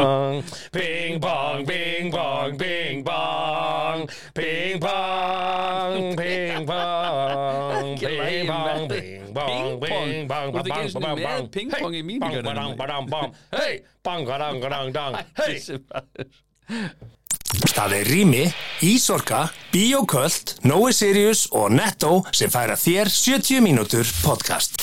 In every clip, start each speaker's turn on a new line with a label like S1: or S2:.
S1: bong, bing bong, bing bong, bing bong, bing bong, bing bong,
S2: Ekki lagi
S1: bing bong,
S2: með
S1: bing bong, bing bong,
S2: Þú ert ekki einu sinni með ping-pong í mínigarðinum.
S1: Bang, bang, bang, hey, bang, bang, bang, bang, hey.
S3: Það er Rými, Ísorka, Bíoköld, Nói Sirius og Netto sem færa þér 70 mínútur podcast.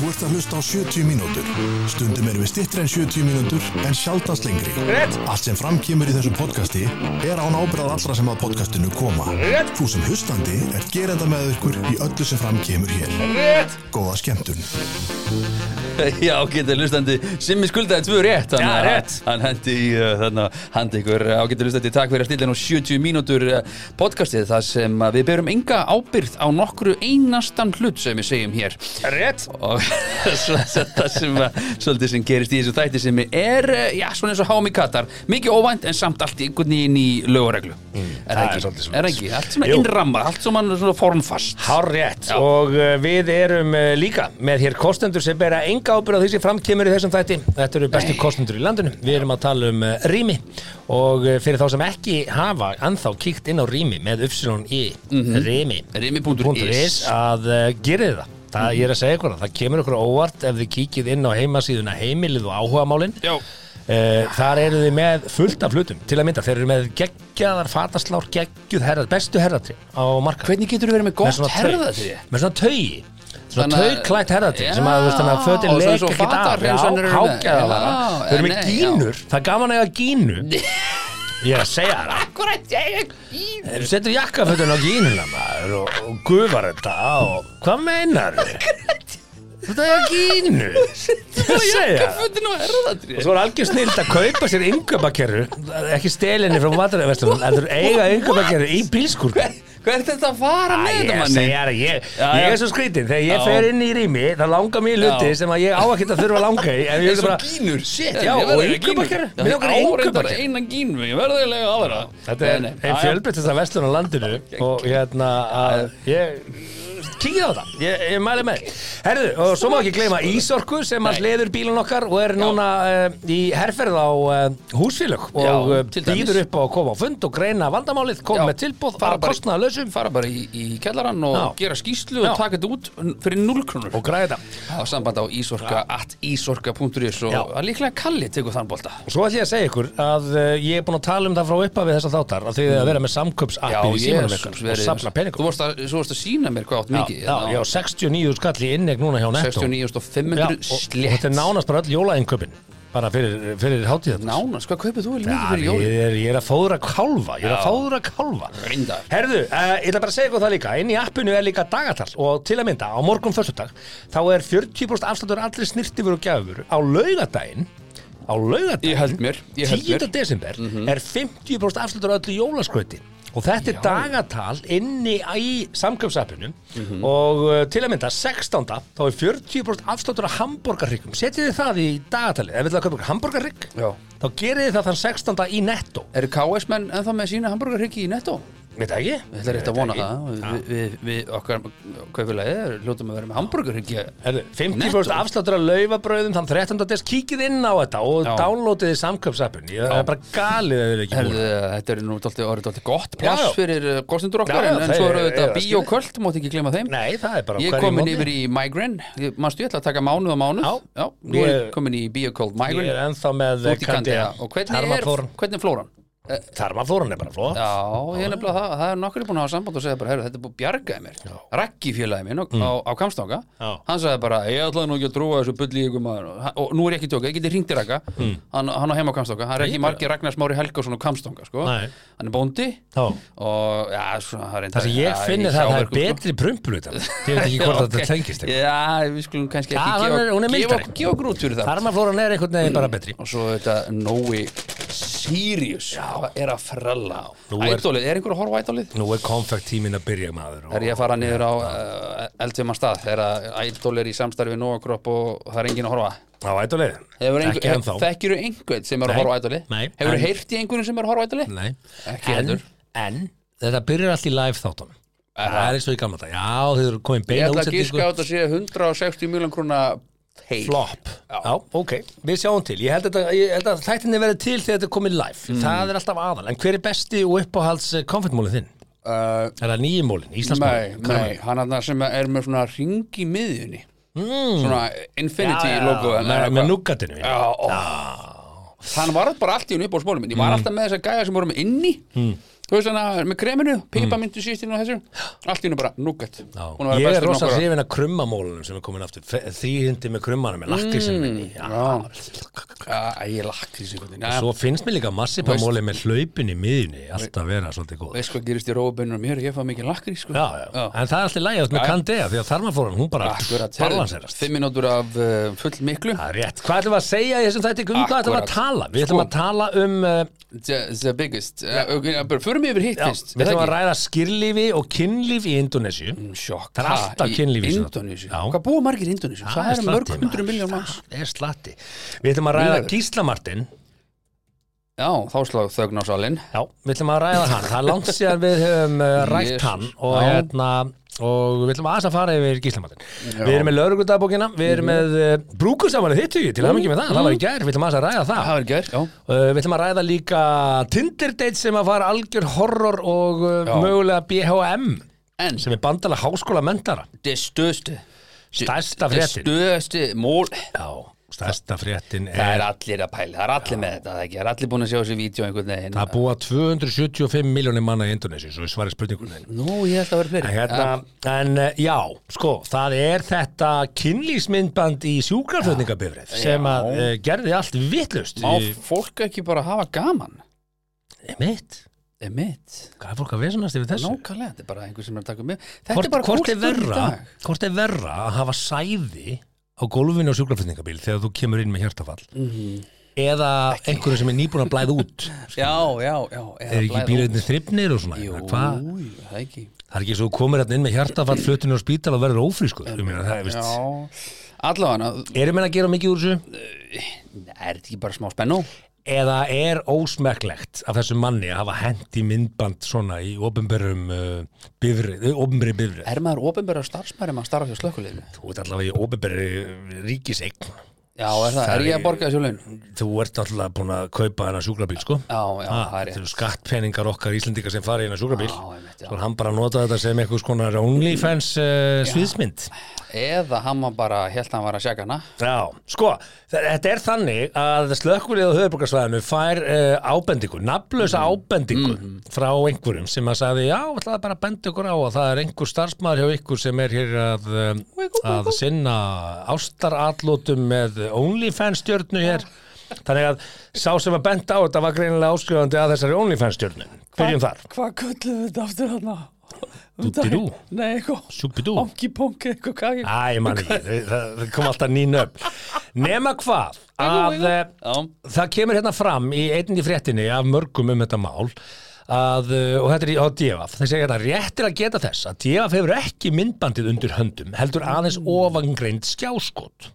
S4: Þú ert að hlusta á 70 mínútur. Stundum erum við stittri en 70 mínútur en sjaldast lengri. Rétt. Allt sem framkýmur í þessum podcasti er án ábyrðað allra sem að podcastinu koma. Rétt. Þú sem hlustandi er gerenda með ykkur í öllu sem framkýmur hér. Rétt. Góða skemmtun.
S2: Já, getur hlustandi Simmi skuldaði tvö rétt hann,
S1: Já, rétt.
S2: Hann hendi, í, uh, þannig að hendi ykkur á getur hlustandi Takk fyrir að stilla nú 70 mínútur uh, podcastið Það sem að við berum enga ábyrgð á nokkru einastan hlut sem við segjum hér
S1: Rétt,
S2: og svo- svo- það sem að, svolítið sem gerist í þessu þætti sem er, eh, já, svona eins og háum í Katar mikið óvænt en samt allt í einhvern veginn í lögureglu er það
S1: Mm. það er
S2: ekki,
S1: svolítið
S2: er
S1: svoleiðis.
S2: ekki, allt svona
S1: Jú.
S2: innrammað allt svona, svona formfast
S1: hár rétt
S2: Já.
S1: og uh, við erum uh, líka með hér kostendur sem bera enga ábyrð á því sem framkemur í þessum þætti. Þetta eru bestu kostendur í landinu. Við erum að tala um uh, rými og uh, fyrir þá sem ekki hafa anþá kíkt inn á rými með uppsilun í
S2: Mhm.
S1: rými
S2: rimi.is
S1: .is að uh, gerði það. Það ég er að segja ykkur það. Það kemur ykkur á óvart ef þið kíkið inn á heimasíðuna heimilið og áhugamálin.
S2: Já.
S1: Uh, þar eru þið með fullt af hlutum til að mynda. Þeir eru með geggjaðar fataslár, geggjuð herrað, bestu herratri á marka
S2: hvernig getur þú verið með
S1: með
S2: gott
S1: svona
S2: herðatri
S1: taug- með svona taugi svona
S2: Þannig að-
S1: taugklætt herðatri sem að þú veist þannig að
S2: Já,
S1: fötin
S2: og svo-
S1: leka
S2: svo
S1: ekkert af já,
S2: fatarhreinsanir eru með.
S1: hágæða
S2: Já,
S1: þarna þau eru með
S2: nei, já.
S1: gínur, það er gaman að eiga gínu ég er að segja þér það
S2: akkurat, ég er gín
S1: Ef þú setur jakkafötun á gínuna maður og, og gufar þetta og hvað meinar þau? Þetta er gínu Ég segja það.
S2: jakkafötin og herðatri
S1: og svo er algjör snild að kaupa sér yngöpakerru ekki stelinni frá matarverslunum en þú eiga yngöpakerru í bílskúrku
S2: hvað er þetta að fara með
S1: Æ,
S2: þetta
S1: ég
S2: manni
S1: segja það, ég,
S2: Já,
S1: ég
S2: já.
S1: er svo skrítinn þegar ég
S2: Já.
S1: fer inn í rými þá langar mér í hluti
S2: Já.
S1: sem að ég á ekki að þurfa að langa í en ég
S2: eins
S1: er
S2: og
S1: bara,
S2: gínur, shit
S1: Já,
S2: ég
S1: og
S2: verð að eiga
S1: innkaupakæru.
S2: gínur. Já,
S1: Mig langar í
S2: ég á reyndar
S1: innkaupakæru.
S2: eina gínu, ég verði að lega aðra
S1: þetta er
S2: Nei, nei,
S1: ein
S2: já, já.
S1: fjölbreytt þess að vestlun á landinu og hérna að ég kikið á það, ég, ég mæli með því. herðu, og svo má ekki gleyma Ísorku sem að
S2: Nei.
S1: leður bílun okkar og er núna uh, í herferð á uh, húsfélög og
S2: Já,
S1: uh,
S2: til dæmis.
S1: býður upp á að koma á fund og greina vandamálið,
S2: Já.
S1: koma með tilbóð
S2: Fara
S1: að
S2: bara í-
S1: kostnaða lausum
S2: fara bara í, í kellarann og
S1: Já.
S2: gera skýslu og
S1: Já.
S2: taka þetta út fyrir 0 krónur
S1: og græða þetta
S2: á samband á ísorka at ísorka.is og
S1: Já.
S2: að líklega Kalli tekur þann bolta
S1: Svo ætlum ég að segja ykkur að uh, ég er búin að tala um það frá upphafið þessar þáttar að því
S2: Mm.
S1: að vera með samköpsappið í símanum ykkur og safna
S2: þú
S1: peningum.
S2: vorst að, svo varst að sína mér hvað átt
S1: Já,
S2: mikið hérna
S1: já, já, 69 skall í innegn núna hjá Netto. Já,
S2: 69.500
S1: og, og
S2: slett
S1: þetta er nánast bara öll jólainköpin, bara fyrir, fyrir hátíðarnar.
S2: nánast, hvað kaupið þú vel mikið
S1: Já,
S2: fyrir jólin?
S1: ég er, ég er að fóðra kálfa, ég er að
S2: Já.
S1: fóðra kálfa
S2: Reyndar.
S1: Herðu, uh, ég ætla bara að segja ykkur það líka Inn í appinu er líka dagatal og til að mynda á morgun föstudag þá er 40% afslutur allir snirtifur og gjafur á laugadaginn á laugadaginn
S2: Ég held mér, ég held
S1: 10.
S2: mér.
S1: desember
S2: Mhm.
S1: er 50% afslutur á öllu jólaskröti og þetta er dagatal inni í samkjömsappinu
S2: Mhm.
S1: og uh, til að mynda 16. þá er 40% afslutur á hambúrgarryggum setjið þið það í dagatalið ef við ætlaðu að köpa hambúrgarrygg
S2: Já.
S1: Þá gerir þið það þann 16. í netto
S2: eru KS menn ennþá með sína hamburgarryggi í netto?
S1: Veit það ekki?
S2: Ég ætla rétt að vona það Við- við, við okkar kaupilagi hljótum að vera með hamburgarryggi
S1: Herðu, 50%
S2: Netto?
S1: afsláttur að laufabröðum þann 13. des kíkið inn á þetta og
S2: Já.
S1: downloadiði samköpsappin Ég það er bara galið að þið eru ekki
S2: Herðu,
S1: búin
S2: þetta er nú dálítið, orðið dálítið gott
S1: Já,
S2: plass
S1: já.
S2: fyrir uh, kostendur okkar
S1: Já, já,
S2: en, en
S1: þeir
S2: svo eru
S1: eru-
S2: þetta
S1: eiga það
S2: bíó
S1: skilið.
S2: kvöld, mátt ekki glemma þeim
S1: Nei, það er bara
S2: Ég er komin yfir í migraine, Ég- manstu ég ætla að taka mánuð á mánuð
S1: Já.
S2: já nú er ég
S1: Ég-
S2: komin í bíó kvöld
S1: Ég er
S2: migraine
S1: ennþá með
S2: Þú ert í Candida og hvernig er,
S1: Þarmaflóran
S2: hvernig er flóran?
S1: Þarmaflóran er bara fló
S2: Já, ég er nefnilega það, það er nokkur búin að hafa samband og segja bara, heyrðu, þetta er búin að bjargaði mér Raggi félagi minn á, á, á Kamstanga
S1: Mm. Já.
S2: hann sagði bara, ég ætlaði nú ekki að trúa þessu bulli í ykkur maður og, og nú er ég ekki tjóka, ég geti hringt í Ragga
S1: Mm.
S2: hann, hann á heima á Kamstanga, hann er ekki margir Ragnars Mári Helgason á Kamstanga, sko
S1: Nei.
S2: hann er bóndi
S1: Já.
S2: og já, svona, það er
S1: Það sem ég finn er það að það
S2: sko.
S1: er betri prumpulutan Ég veit ekki hvort þetta tengist ekki
S2: Já, við skulum kannski
S1: Já,
S2: ekki
S1: hann er- hún er
S2: gefa,
S1: mildari.
S2: gefa, gefa grút fyrir það
S1: Þarmaflóran er einhvern veginn bara betri
S2: og svo þetta Nói Sirius hvað er að frella á
S1: Nú er-
S2: Ædolið, er einhver að horfa á ædolið?
S1: Nú er konfekt tímin að byrja maður og-
S2: Er ég að fara niður á uh, eldfjöma stað þegar að Idol er í samstarfi við Nóakropp og það er enginn að horfa
S1: Á ætulegi
S2: Hefur einhver-
S1: Ekki ennþá
S2: Þekkirðu einhvern sem er að
S1: Nei.
S2: horfa á ædoli?
S1: Nei.
S2: Hefur
S1: En-
S2: heyrt í einhverjum sem er að horfa á ædoli?
S1: Nei
S2: Ekki
S1: en,
S2: heldur.
S1: en þetta byrjar allt í live þáttunum Það er eins og í gamla þetta Já, þið eru komin
S2: Ég
S1: beina
S2: ætla að gíska
S1: útsendingu
S2: á þetta að sé 160 miljón krona heil
S1: Flop, já. ok, við sjáum til Ég held að, þetta- ég held að þættinni verði til þegar þetta er komið live
S2: Mm.
S1: Það er alltaf aðal, en hver er besti og uppáhalds konfettmólið þinn?
S2: uh,
S1: Er það nýjumólin,
S2: Nei,
S1: Íslandsmólin?
S2: nei, hann hann sem er með svona ring í miðjunni
S1: Hmm.
S2: Svona Infinity logo hann,
S1: með,
S2: er
S1: með
S2: eitthvað.
S1: núgatinu
S2: Já, ó. Hann var bara allt í hún upp á smólum minn
S1: Mm.
S2: Ég var alltaf með þessa gæja sem voru með inni Þú veist hann að með kreminu, pipamyndu sístinu og þessu Allt í hún bara núgat Hún var
S1: Mm. Ég er
S2: bestur
S1: rosa
S2: nokkura.
S1: hrifin að krummamólunum sem er komin aftur Þýhindi með krummanum, með lakkrísinu minni Já.
S2: Já, ég sko, lakti þessu einhvern veginn.
S1: Svo finnst mér líka massipamóli með hlaupin í miðjunni Alltaf vera svolítið góð
S2: veist hvað gerist í rófabennur og mér, ég fá mikið lakri sko.
S1: já, já. En það er alltaf lægjátt með
S2: Já, já.
S1: Candea Því að þarmafórum, hún bara
S2: Akkurat,
S1: balanserast
S2: Fimm mínútur af uh, full miklu
S1: Það er rétt. Hvað ætlum við að segja í þessum þætti? Um hvað ætlum við að
S2: Akkurat. Sko-
S1: tala? Við ætlum að tala um, uh,
S2: The, the biggest uh, okay, bara Förum yfir hitt
S1: já,
S2: fyrst
S1: við ætlum að ræða skýrlífi og kynlíf í Indonésiu.
S2: Mm, Sjokk
S1: Það er alltaf kynlíf í
S2: í
S1: þessu.
S2: Indonési
S1: Já.
S2: Hvað búa margir í Indonési? Það er mörg
S1: slatti,
S2: hundru
S1: maður.
S2: miljón manns
S1: Það er slatti. Við ætlum að ræða
S2: Mílaður.
S1: Gíslamartin.
S2: Já, þá slagðu þögn á salin
S1: Já, við ætlum að ræða hann. Það er langt síðan við höfum uh, rætt
S2: Jesus.
S1: hann og,
S2: Já.
S1: hérna, og við ætlum aðeins að fara yfir Gíslamartin. Við erum með laurugudagbókina, við
S2: Mhm.
S1: erum með uh, brúkursamanið þittu til að mikið með það. Það var í gær, við ætlum aðeins að ræða það.
S2: Það er gær, Mhm. já
S1: Uh, við ætlum að ræða líka Tinder date sem að fara algjör horror og uh,
S2: Já.
S1: mögulega BHM
S2: En,
S1: sem er bandala háskóla mentara
S2: det stöðstu
S1: Stærsta
S2: Det
S1: fréttin.
S2: stöðstu mól
S1: Já, stærsta fréttin
S2: Það
S1: er
S2: er allir að pæla, það er allir með þetta, það er ekki Það er allir búin að sjá þessi vídeo einhvern veginn
S1: að búa 275 miljónir manna í Indonesia svo ég svarið spurningunni
S2: Nú, ég held að vera
S1: En,
S2: fleiri
S1: hérna, en uh, já, sko, það er þetta kynlýsmyndband í sjúkarflutningabifrið sem að uh, gerði allt vitlust
S2: Má fólk ekki bara hafa gaman?
S1: mitt,
S2: Emitt
S1: hvað er fólk að vesanast yfir þessu?
S2: Nákvæmlega, þetta er bara einhver sem er að taka með Þetta
S1: hvort,
S2: er bara
S1: hvort, er
S2: kúltúr í
S1: verra,
S2: dag.
S1: hvort er verra að hafa sæði á gólfinu á sjúkraflutningabíl þegar þú kemur inn með hjartafall
S2: Mhm.
S1: eða einhverju sem er nýbúin að blæða út
S2: Já, já, já
S1: er ekki bílöðinni þrifnir og svona
S2: Jú,
S1: Jú. hvað,
S2: það er ekki
S1: það er ekki svo þú komir hérna inn með hjartafall flutinu á spítal og verður ófrísku ég meina það, er
S2: Já
S1: veist
S2: Allavega,
S1: Erum við að gera mikið úr þessu?
S2: er þetta ekki bara smá spennu?
S1: Eða er ósmekklegt af þessum manni að hafa hent í myndband svona í opinberum uh, bifrið, opinberi bifrið?
S2: Er maður ofinbæra starfsmæri maður starf hjá slökkuleginu?
S1: Þú ert allavega í opinberi ríkisegn.
S2: Já, er það, er ég að borga þessu laun?
S1: Þú ert alltaf búin að kaupa þennan sjúkrabíl, sko.
S2: Já, já,
S1: Ah,
S2: það er
S1: þetta
S2: ég
S1: eru skattpeningar okkar Íslendingar sem fara í þennan sjúkrabíl.
S2: Já, einmitt, já.
S1: Svo er hann bara að nota þetta sem eitthvað skonar OnlyFans uh, sviðsmynd.
S2: Eða hann var bara, held að hann var að sjaka hana
S1: Já, sko, þe- þetta er þannig að slökkvilið á höfuborgarsvæðinu fær uh, ábendingu, nafnlösa ábendingu frá einhverjum sem að sagði já, ætlaði bara að benda ykkur á að það er einhver starfsmaður hjá ykkur sem er hér að, um, að sinna ástaratlótum með OnlyFans stjörnu hér þannig að sá sem að benda á þetta var greinilega áskrifandi að þessari OnlyFans stjörnu byrjum þar,
S5: Hvað köllum við þetta aftur hann?
S1: Dúddirú?
S5: Nei, eitthvað.
S1: Sjúbidú.
S5: Onkipong, eitthvað kaki.
S1: Æ, ég man ekki, þau- það það kom alltaf nýn upp nema hvað að eh,
S2: Já,
S1: það kemur hérna fram í einnig fréttinni af mörgum um þetta mál að, uh, og þetta er í- á DFF þeir segja þetta réttir að geta þess að DFF hefur ekki myndbandið undir höndum heldur aðeins ofangreind skjáskot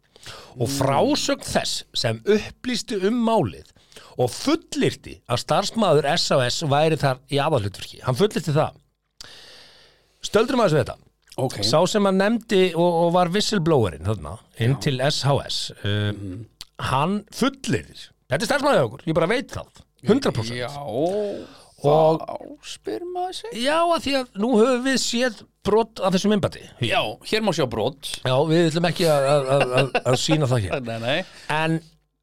S1: og frásögn þess sem upplýsti um málið og fullirti að starfsmaður SAS væri þar í aðalhutverki hann fullirti það stöldrum aðeins við þetta
S2: ok
S1: Sá sem að nefndi og, og var whistleblowerinn þarna, inn til SHS uh, hann fullirir þetta er starfsmæðið okkur, ég bara veit það 100%
S2: Já,
S1: Og-
S2: þá spyr maður sig
S1: Já, að því að nú höfum við séð brot af þessum innbæti
S2: Já, hér má sjá brot
S1: Já, við ætlum ekki að, að, að, að- að sína það hér
S2: Nei, nei
S1: En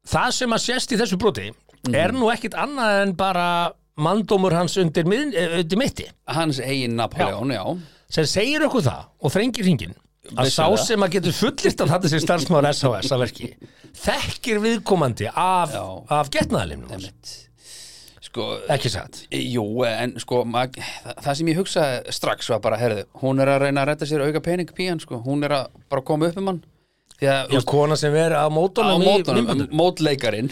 S1: það sem að sést í þessu broti er nú ekkit annað en bara mandómur hans undir, mið, eh, undir mitti
S2: Hans eigin Napoleon, já,
S1: sem segir okkur það og þrengir hringin að
S2: Vissu
S1: sá
S2: það.
S1: sem að getur fullirt að þetta sé starfsmáður SHS að verki þekkir viðkomandi af,
S2: Já.
S1: af getnaðalimnum
S2: Einmitt. Sko,
S1: ekki satt
S2: jú, en sko, mað, það sem ég hugsaði strax var bara, herðu, hún er að reyna að redda sér auka pening pían, sko, hún er að bara koma upp um hann. Því að,
S1: Já, kona sem er á
S2: á
S1: mótunum í
S2: mótunum,
S1: myndbandinu.
S2: mótleikarin.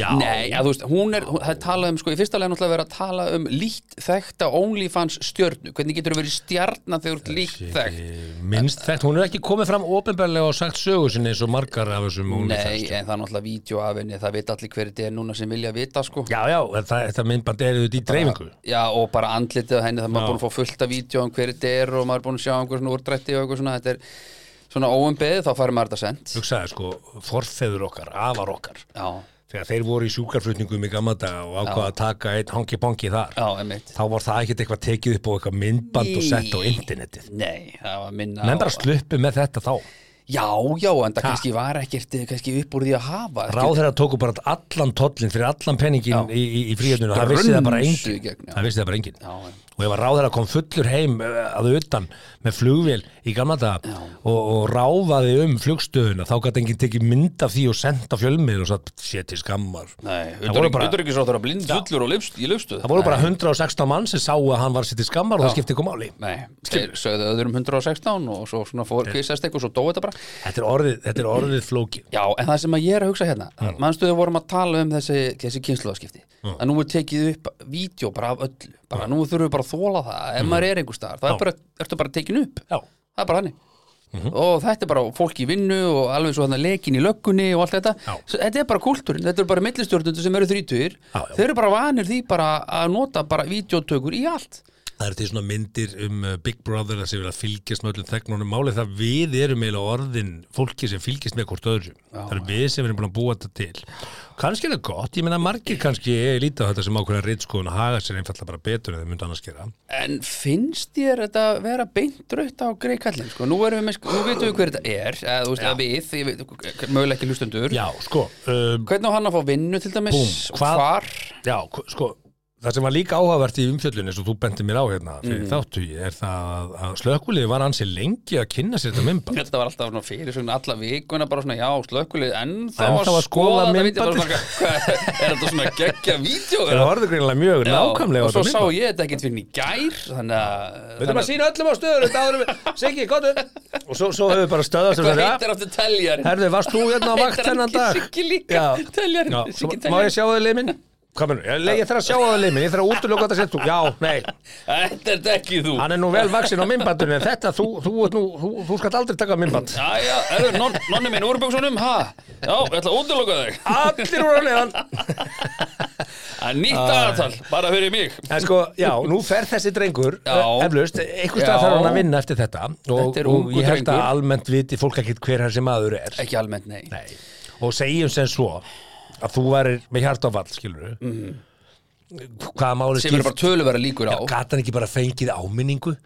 S1: Já.
S2: Nei, að þú veist, hún er, hún, það er talað um, sko, í fyrsta lega náttúrulega verið að tala um líkt þekkta OnlyFans stjörnu. Hvernig getur þú verið stjarna þegar þú ert líkt þekkt? eh,
S1: minnst þekkt, hún er ekki komið fram ofinbarlega og sagt sögu sinni eins og margar af þessum
S2: Nei,
S1: OnlyFans.
S2: en það er náttúrulega vídeo af henni, það veit allir hverju þetta er núna sem vilja vita, sko.
S1: Já, já, en það, þetta myndband er auðvitað í dreifingu
S2: Já, og bara andlitið á henni, það maður búin að fá fullt af vídeo um hverju þetta er og maður búin að sjá einhver svona úrdrætti og eitthvað svona, þetta er svona óumbeðið þá fær maður þetta sent
S1: hugsaði sko, forfeður okkar, afar okkar
S2: Já,
S1: þegar þeir voru í sjúkarflutningum í gamla daga og ákvaða að taka einn hongi-pongi þar
S2: já, einmitt
S1: þá var það ekkert eitthvað tekið upp á eitthvað myndband og sett á internetið
S2: Nei, það var minna
S1: menn
S2: á-
S1: bara sluppu með þetta þá
S2: Já, já, en það kannski var ekkert eh, kannski upp úr því að hafa ekkert-
S1: ráð þeirra tóku bara allan tollin fyrir allan
S2: Já.
S1: penningin í, í, í fríöndinu það vissi það bara
S2: Strunsu í
S1: engin
S2: gegn, já.
S1: það vissi það bara engin
S2: Já, já.
S1: og ef að ráð þeirra kom fullur heim eh, að utan með flugvél í gamla daga og, og ráðaði um flugstöðuna þá gæti enginn tekið mynd af því og senda fjölmið og satt sér til skammar
S2: Nei,
S1: Það voru bara-
S2: utanryggisráður að blind fullur og lifst, í löfstuð
S1: það voru bara 116 mann sem sáu að hann var sér til skammar og það skipti ekki máli
S2: Nei, þeir sögðu öðrum 116 og svo svona fór kvissast eitthvað og svo dói þetta bara
S1: þetta er orðið, þetta er orðið flóki
S2: Já, en það sem að ég er að hugsa hérna mannstu við vorum að tala um þessi, þessi kynsluðaskipti að nú er tekið upp vídeo bara af öllu, bara nú þurfum við bara að þóla það ef maður er einhver staðar, það er bara, ertu bara tekin upp
S1: Mhm. Já. Mhm.
S2: það er bara hannig og þetta er bara fólk í vinnu og alveg svo hérna lekin í löggunni og allt þetta
S1: Já.
S2: Svo þetta er bara kúltúrin, þetta eru bara millistjórnundur sem eru þrítugir,
S1: Já, já.
S2: þeir eru bara vanir því bara að nota bara vídeotökur í allt
S1: Það eru til svona myndir um uh, Big Brother það sem vilja fylgjast með öllum þegnunum málið það við erum eiginlega orðin fólki sem fylgjast með hvort öðru það eru við sem erum búin að búa þetta til kannski er það gott, ég meina margir kannski lítið á þetta sem ákveðna reitskóðun og haga sér einfalla bara betur en þau myndu annars gera
S2: En finnst þér þetta að vera beint raut á grei kallin? Sko? Nú, erum við með, nú veitum við hver þetta er, eða þú veist, að við, ég veit, mögulega ekki hlustundur.
S1: Já, sko, um,
S2: Hvernig á hann að fá vinnu til dæmis?
S1: Búm,
S2: Og
S1: hvað-
S2: Hvar?
S1: já, k- sko Það sem var líka áhugavert í umfjöllunni eins og þú benti mér á hérna fyrir mm. er það að- að slökkulegi var ansi lengi að kynna sér þetta myndband
S2: Þetta var alltaf svona fyrir svona alla vikuna bara svona, já, slökkulið, en þá
S1: Ennþá að skoða myndbandið.
S2: Er þetta svona geggja vídeo?
S1: Það horfðu greinilega mjög nákvæmlega á
S2: Og svo
S1: þetta
S2: sá
S1: myndband.
S2: ég þetta ekkert fyrir í gær, þannig að...
S1: Við þurfum að sína öllum á stöður Þetta áður við Siggi, gottu Og svo, svo höfum við bara stöðast
S2: Hvað heitir aftur teljarinn?
S1: Herðu, varst þú hérna á vakt
S2: Heitir
S1: þennan
S2: hann ekki
S1: dag?
S2: Siggi líka?
S1: Já.
S2: Teljarinn,
S1: Já,
S2: Siggi
S1: svo Má
S2: teljarinn.
S1: ég sjá þau limin? Hvað mennur? Ég, ég þarf að sjá þau limin Ég þarf að útlöka þetta sem þú Já, nei
S2: Þetta er ekki þú.
S1: Hann er nú vel vaksin á minnbandunni En þetta, þú, þú, þú, þú, þú skalt aldrei taka minnband
S2: Jæja, erður, non, nonni minn úr buksunum, ha? Já, ég ætla að útiloka þig.
S1: Allir úr á neðan
S2: Það er nýtt aðartal, bara fyrir mig.
S1: En sko, já, nú fer þessi drengur eh,
S2: Já.
S1: Eflaust, einhver stað
S2: Já.
S1: þarf hann að vinna eftir þetta Og,
S2: Þetta er
S1: og
S2: ungur
S1: ég held að
S2: drengur.
S1: almennt viti fólk ekkit hver hans sem aður er
S2: Ekki almennt, nei.
S1: Nei. Og segjum sem svo að þú værir með hjartafall, skilur við Hvaða máli
S2: Sem eru Mhm. bara töluvera líkur á.
S1: Gat hann ekki bara fengið áminningu?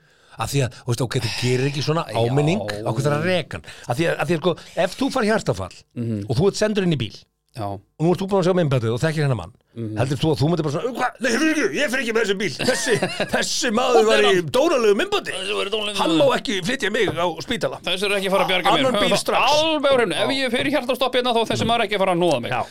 S1: Af því að, þú veist, ok, þú gerir ekki svona áminning
S2: Já.
S1: á hvað það er að reka hann Af því að, af því að sko, ef þú far hjartafall
S2: Mhm.
S1: og þú ert sendur inn í bíl
S2: Já,
S1: og nú ert þú búin að sjá meimbætið og þekkir hennar mann
S2: Mhm.
S1: heldur þú að þú myndir bara svona "Hva? Nei, fyrir ekki, ég fyrir ekki með þessu bíl þessi, þessi maður var í dónalegu meimbæti
S2: Þessi var í dónalegu
S1: hann má
S2: meimbandi."
S1: ekki flytja mig á spítala
S2: þessi eru ekki að fara að bjarga mér.
S1: Annar bíl strax.
S2: Alveg á hreinu, ef ég fyrir hjarta stopp hérna þá þessi maður ekki að fara að nóða mig.
S1: Já,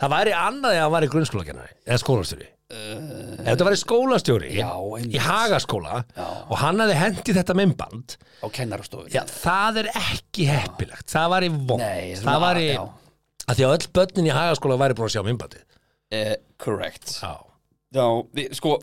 S1: það væri annað ef hann væri grunnskólakennari eða skólastjóri ef þetta væri skólastjóri
S2: Já, einmitt.
S1: í hagaskóla og hann hafði hendið þetta mymband
S2: Á kennarastofu.
S1: já, það er ekki heppilegt það væri vond
S2: Nei, svona-
S1: það væri
S2: já.
S1: að því að öll börnin í hagaskóla væri búin að sjá mymbandið
S2: Eh, correct.
S1: já.
S2: Já, við, sko,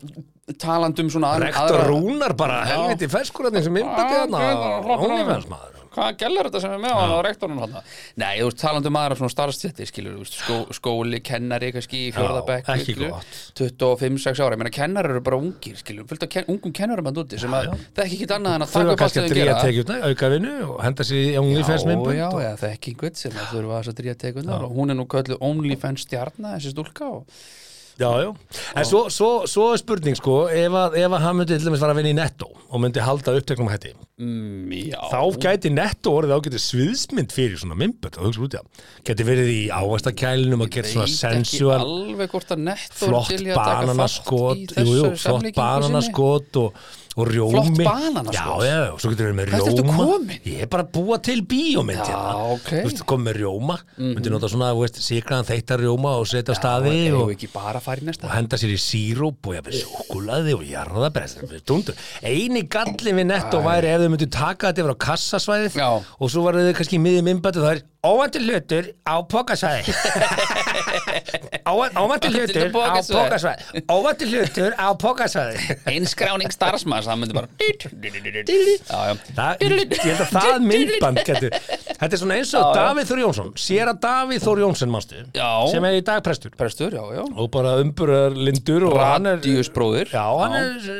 S2: talandum svona aðra-
S1: rektor
S2: aðra-
S1: Rúnar bara helviti sko ferskurarnir sem mymbandið
S2: Já, ok,
S1: hann
S2: það er flott.
S1: ónifelsmaður
S2: hvað gælir þetta sem er með á hann á rektorinn hann Nei, þú veist, talandi um aðra svona starfstjætti skilur, þú veist, skó, skóli, kennari kannski í fjórðabæk,
S1: ekki gott.
S2: 25-6 ára, ég meina kennar eru bara ungir skilur, fullt af ken, ungum kennarum hann úti sem að það er ekki annað en að taka
S1: þurfa
S2: upp allt
S1: kannski
S2: sem
S1: að
S2: þeir
S1: dríja
S2: gera.
S1: tekjurnar, auka vinnu og henda sér í
S2: Já, já,
S1: OnlyFans-mymband
S2: já, það er ekki einhvern sem að þurfa þess að dríja tegunar og hún er nú köllu OnlyFans stjarna þessi stúlka og
S1: Já, já. En svo, svo, svo er spurning sko, ef að, ef að hann myndi til dæmis fara að vinna í netto og myndi halda uppteknum hætti,
S2: mm, já,
S1: þá gæti netto orðið ágæti sviðsmynd fyrir svona mymböld og hugsa út í það. Gæti verið í ávastakælinum og gera svona
S2: veit
S1: sensual,
S2: ekki alveg hvort að netto er
S1: flott
S2: til í að taka þátt í
S1: bananaskot, jú,
S2: þessari
S1: jú, flott
S2: samlíkingu sinni.
S1: bananaskot og, og rjómi.
S2: bananaskot?
S1: Já, já, já, svo getur við með
S2: Hvert
S1: rjóma.
S2: ertu kominn?
S1: Ég er bara að búa til bíómynd
S2: Já,
S1: hérna.
S2: ok. Mhm.
S1: Þú veist, kom með rjóma, myndi nota svona, þú veist, sigraðan þeittar rjóma og setja á staði
S2: Eigum
S1: og
S2: við ekki bara að fara
S1: og
S2: í næsta
S1: henda sér í síróp og jafnir sjúkulaði og jarðabræð eini gallin við netto væri ef þau myndu taka þetta yfir á kassasvæðið
S2: Já.
S1: og svo varu þau kannski í miðjum innbættu það er óvandur hlutur á pokasvæði Óvænti hlutur
S2: Til
S1: á
S2: pokasvæði.
S1: pókasvæði Óvænti hlutur á pókasvæði
S2: einskráning starfsmanns það myndi bara já, já.
S1: Það, ég held að það myndband getur Þetta er svona eins og Davíð Þór Jónsson Sér að Davíð Þór Jónsson, manstu
S2: Já.
S1: Sem er í dag prestur
S2: prestur, já, já
S1: Og bara umburðar lindur og hann er-
S2: Radíusbróðir
S1: Já, hann er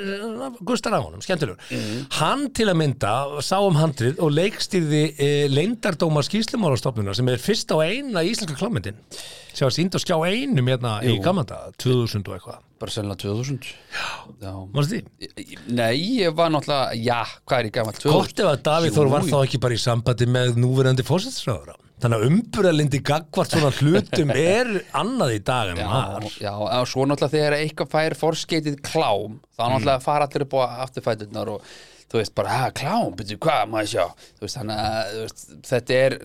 S1: Gustar af honum, skemmtilegur
S2: Mm.
S1: Hann til að mynda, sá um handrið og leikstýrði e, leindardóma skýslumálastofnuna sem er fyrst á eina íslenska klammyndin sem var sínd að skjá einum hérna í gamanda 2000 og eitthvað
S2: bara sennilega 2000 já.
S1: Manstu því?
S2: nei, ég var náttúrulega já, hvað er í gamall 2000
S1: Gott ef að Davíð Þór
S2: Jú,
S1: var þá ekki bara í sambandi með núverandi fósinsráður Þannig að umburðalindi gagvart svona hlutum er annað í dag en var
S2: Já, og svo náttúrulega þegar eitthvað fær forskeitið klám, þá
S1: Mm.
S2: náttúrulega fara allir upp á afturfæturnar og þú veist bara, hæ, klám, betur hvað, maður sjá þú veist, þannig að þú veist, þetta er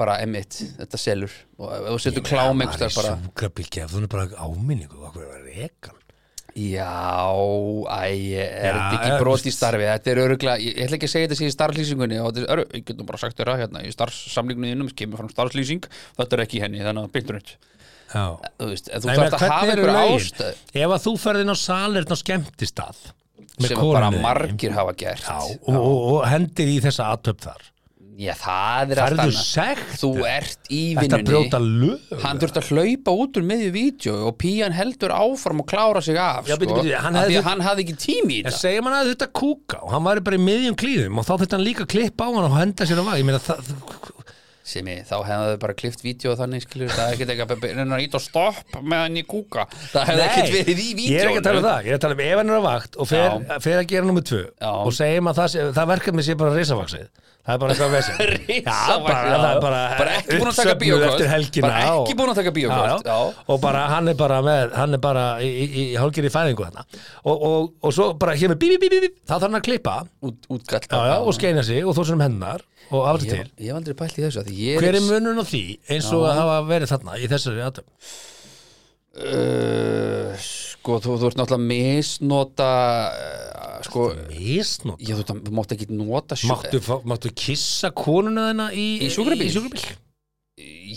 S2: bara emitt, þetta selur og ef þú setur klám
S1: Það er
S2: einhverstaðar bara
S1: sjúkrabíl gefðun bara áminningu Hvað er rekan?
S2: Já, æ, er þetta
S1: Já,
S2: ekki brot í
S1: veist.
S2: starfi þetta er öruglega, ég, ég ætla ekki að segja þetta sér í starflýsingunni og þetta er, ég getum bara sagt þér að hérna, í starfsamlingunni innum kemur fram starflýsing þetta er ekki í henni, þannig að byndur nýtt
S1: Já
S2: þú veist, en þú
S1: Nei,
S2: þarft
S1: menn,
S2: að hafa
S1: hvernig eru
S2: einhver
S1: lögin?
S2: ástæð
S1: Ef að þú ferðin á salirn á skemmtistað með
S2: sem bara
S1: konunni þinni,
S2: margir hafa gert
S1: já, og, og, og hendir í þessa aðtöp þar
S2: Já, það er allt
S1: Færðu
S2: annað
S1: sekt
S2: Þú ert í
S1: Þetta brjóta
S2: vinnunni
S1: lög
S2: Hann þurft að hlaupa út úr miðju vídeo og pían heldur áfram og klára sig af
S1: Já,
S2: sko.
S1: bíddu, bíddu, hann
S2: Af
S1: hefði
S2: Því
S1: þurft-
S2: að hann hafði ekki tími í
S1: Ég
S2: þetta
S1: segja mann að þetta kúka og hann væri bara í miðjum klíðum og þá þetta hann líka að klippa á hann og henda sér á vað Ég meina það
S2: sem ég, þá hefði þau bara klift vídeo þannig skilur, það hefði ekkert eitthvað reyna að ít og stopp meðan ég kúka það hefði ekkert
S1: Nei,
S2: verið í vídeo
S1: ég er ekki að tala um það Ég er að tala um ef hann er á vakt og fer, fer að gera nummer tvö
S2: Já.
S1: og segjum að það, sé- það verkefni sé bara risavaksið Það er bara eitthvað vesinn Já, bara, það er bara,
S2: bara ekki búin að taka
S1: uppsöfnuð
S2: bíókvöld
S1: eftir helgina
S2: bara ekki
S1: og-
S2: búin að taka bíókvöld
S1: Já, já. og bara hann er bara með hann er bara í, í, í hálgir í fæðingu þarna og, og, og svo bara hér með bíbi bíbi bíbi þá þarf hann að klippa já,
S2: útgall
S1: já, og skeina sig og þó sem hennar og af þetta
S2: ég,
S1: til
S2: ég hef aldrei pælt í þessu af því ég
S1: hver er munun á því eins og að hafa verið þarna í þessari aðtöfn
S2: Uh, sko, þú, þú ert náttúrulega misnota uh, sko,
S1: misnótt
S2: ég þú ert að- þú mátt ekki nota sjó-
S1: máttu, fá- máttu kissa konuna þina í,
S2: Í sjúkrabíl?
S1: í sjúkrabíl?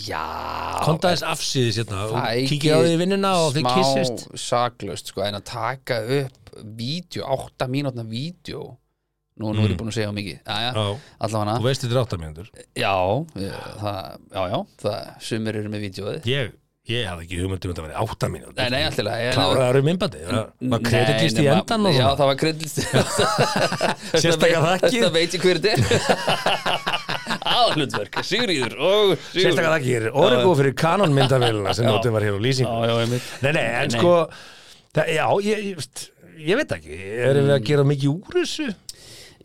S2: já
S1: kontaðis afsýðis hérna og
S2: það er ekki
S1: kíkja á því vinnina og þið
S2: smá
S1: kissist
S2: saklaust, sko, en að taka upp vídeo, 8 mínútna vídeo nú, nú er ég búin að segja of mikið aðja,
S1: Mm. Já.
S2: allavega
S1: þú veist þetta er áttamjöndur
S2: já, ég, það, já, já, það sumir eru með vídeoið
S1: ég, ég hafði ekki hugmyndum að það verið áttamjöndur
S2: nei, nei, alltaf
S1: kláraður um innbandi var kreditlist í endan og
S2: já,
S1: svona
S2: það var kreditlist
S1: Sérstakar þakkir.
S2: þetta veit ég hver þetta er aðhlutverk, Sigríður og Sigríður
S1: sérstakar þakkir, orgu fyrir kanonmyndavélina sem
S2: Já.
S1: notið var hér á lýsingu
S2: Já, já, einmitt.
S1: nei, nei, en sko það, já, ég, ég, veist, ég veit ekki erum
S2: Mm.
S1: við að gera mikið úr þessu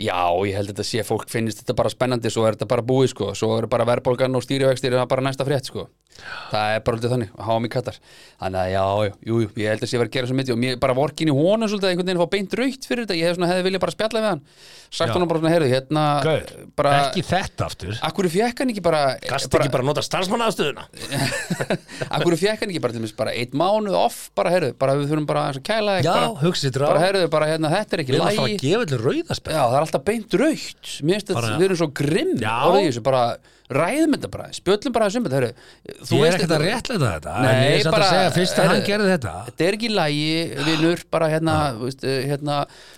S2: já, ég held að þetta sé að fólk finnist þetta bara spennandi svo er þetta bara búið sko, svo er bara verðbólgan og stýrivextir það er bara næsta frétt sko það er bara alltaf þannig, háum í kattar þannig að já, já, jú, jú, ég held að sé að vera að gera svo myndi og mér bara vorkin í honum svolítið einhvern veginn að fá beint raut fyrir þetta, ég hef svona hefði viljað bara spjalla við hann sagt honum bara svona, heyrðu, hérna
S1: Gaur,
S2: bara,
S1: ekki þetta aftur
S2: akkur fekk hann ekki bara
S1: gast ekki bara að nota starfsmannaðstöðuna
S2: Akkur fekk hann ekki bara til mér bara eitt mánuð off bara herðu, bara við þurfum bara aðeins að kæla þig,
S1: Já,
S2: bara,
S1: hugsið þér á.
S2: bara herðu, bara hérna, þetta er ekki
S1: við erum alltaf að
S2: lægi Já,
S1: gefa allir rauðaspel
S2: það er alltaf beint raukt Mér finnst
S1: Bara-
S2: þetta, við erum svo grimm
S1: Já.
S2: orðið í þessu, bara ræðum þetta bara spjöllum bara þessum, herðu
S1: ég
S2: þú
S1: er
S2: veist
S1: ekkert að réttlega þetta
S2: Nei,
S1: en ég er samt
S2: bara-
S1: að segja fyrst að hann
S2: heyrðu,
S1: gerði þetta
S2: Þetta er ekki lægi, vinur, bara hérna, þú veist, eh, hérna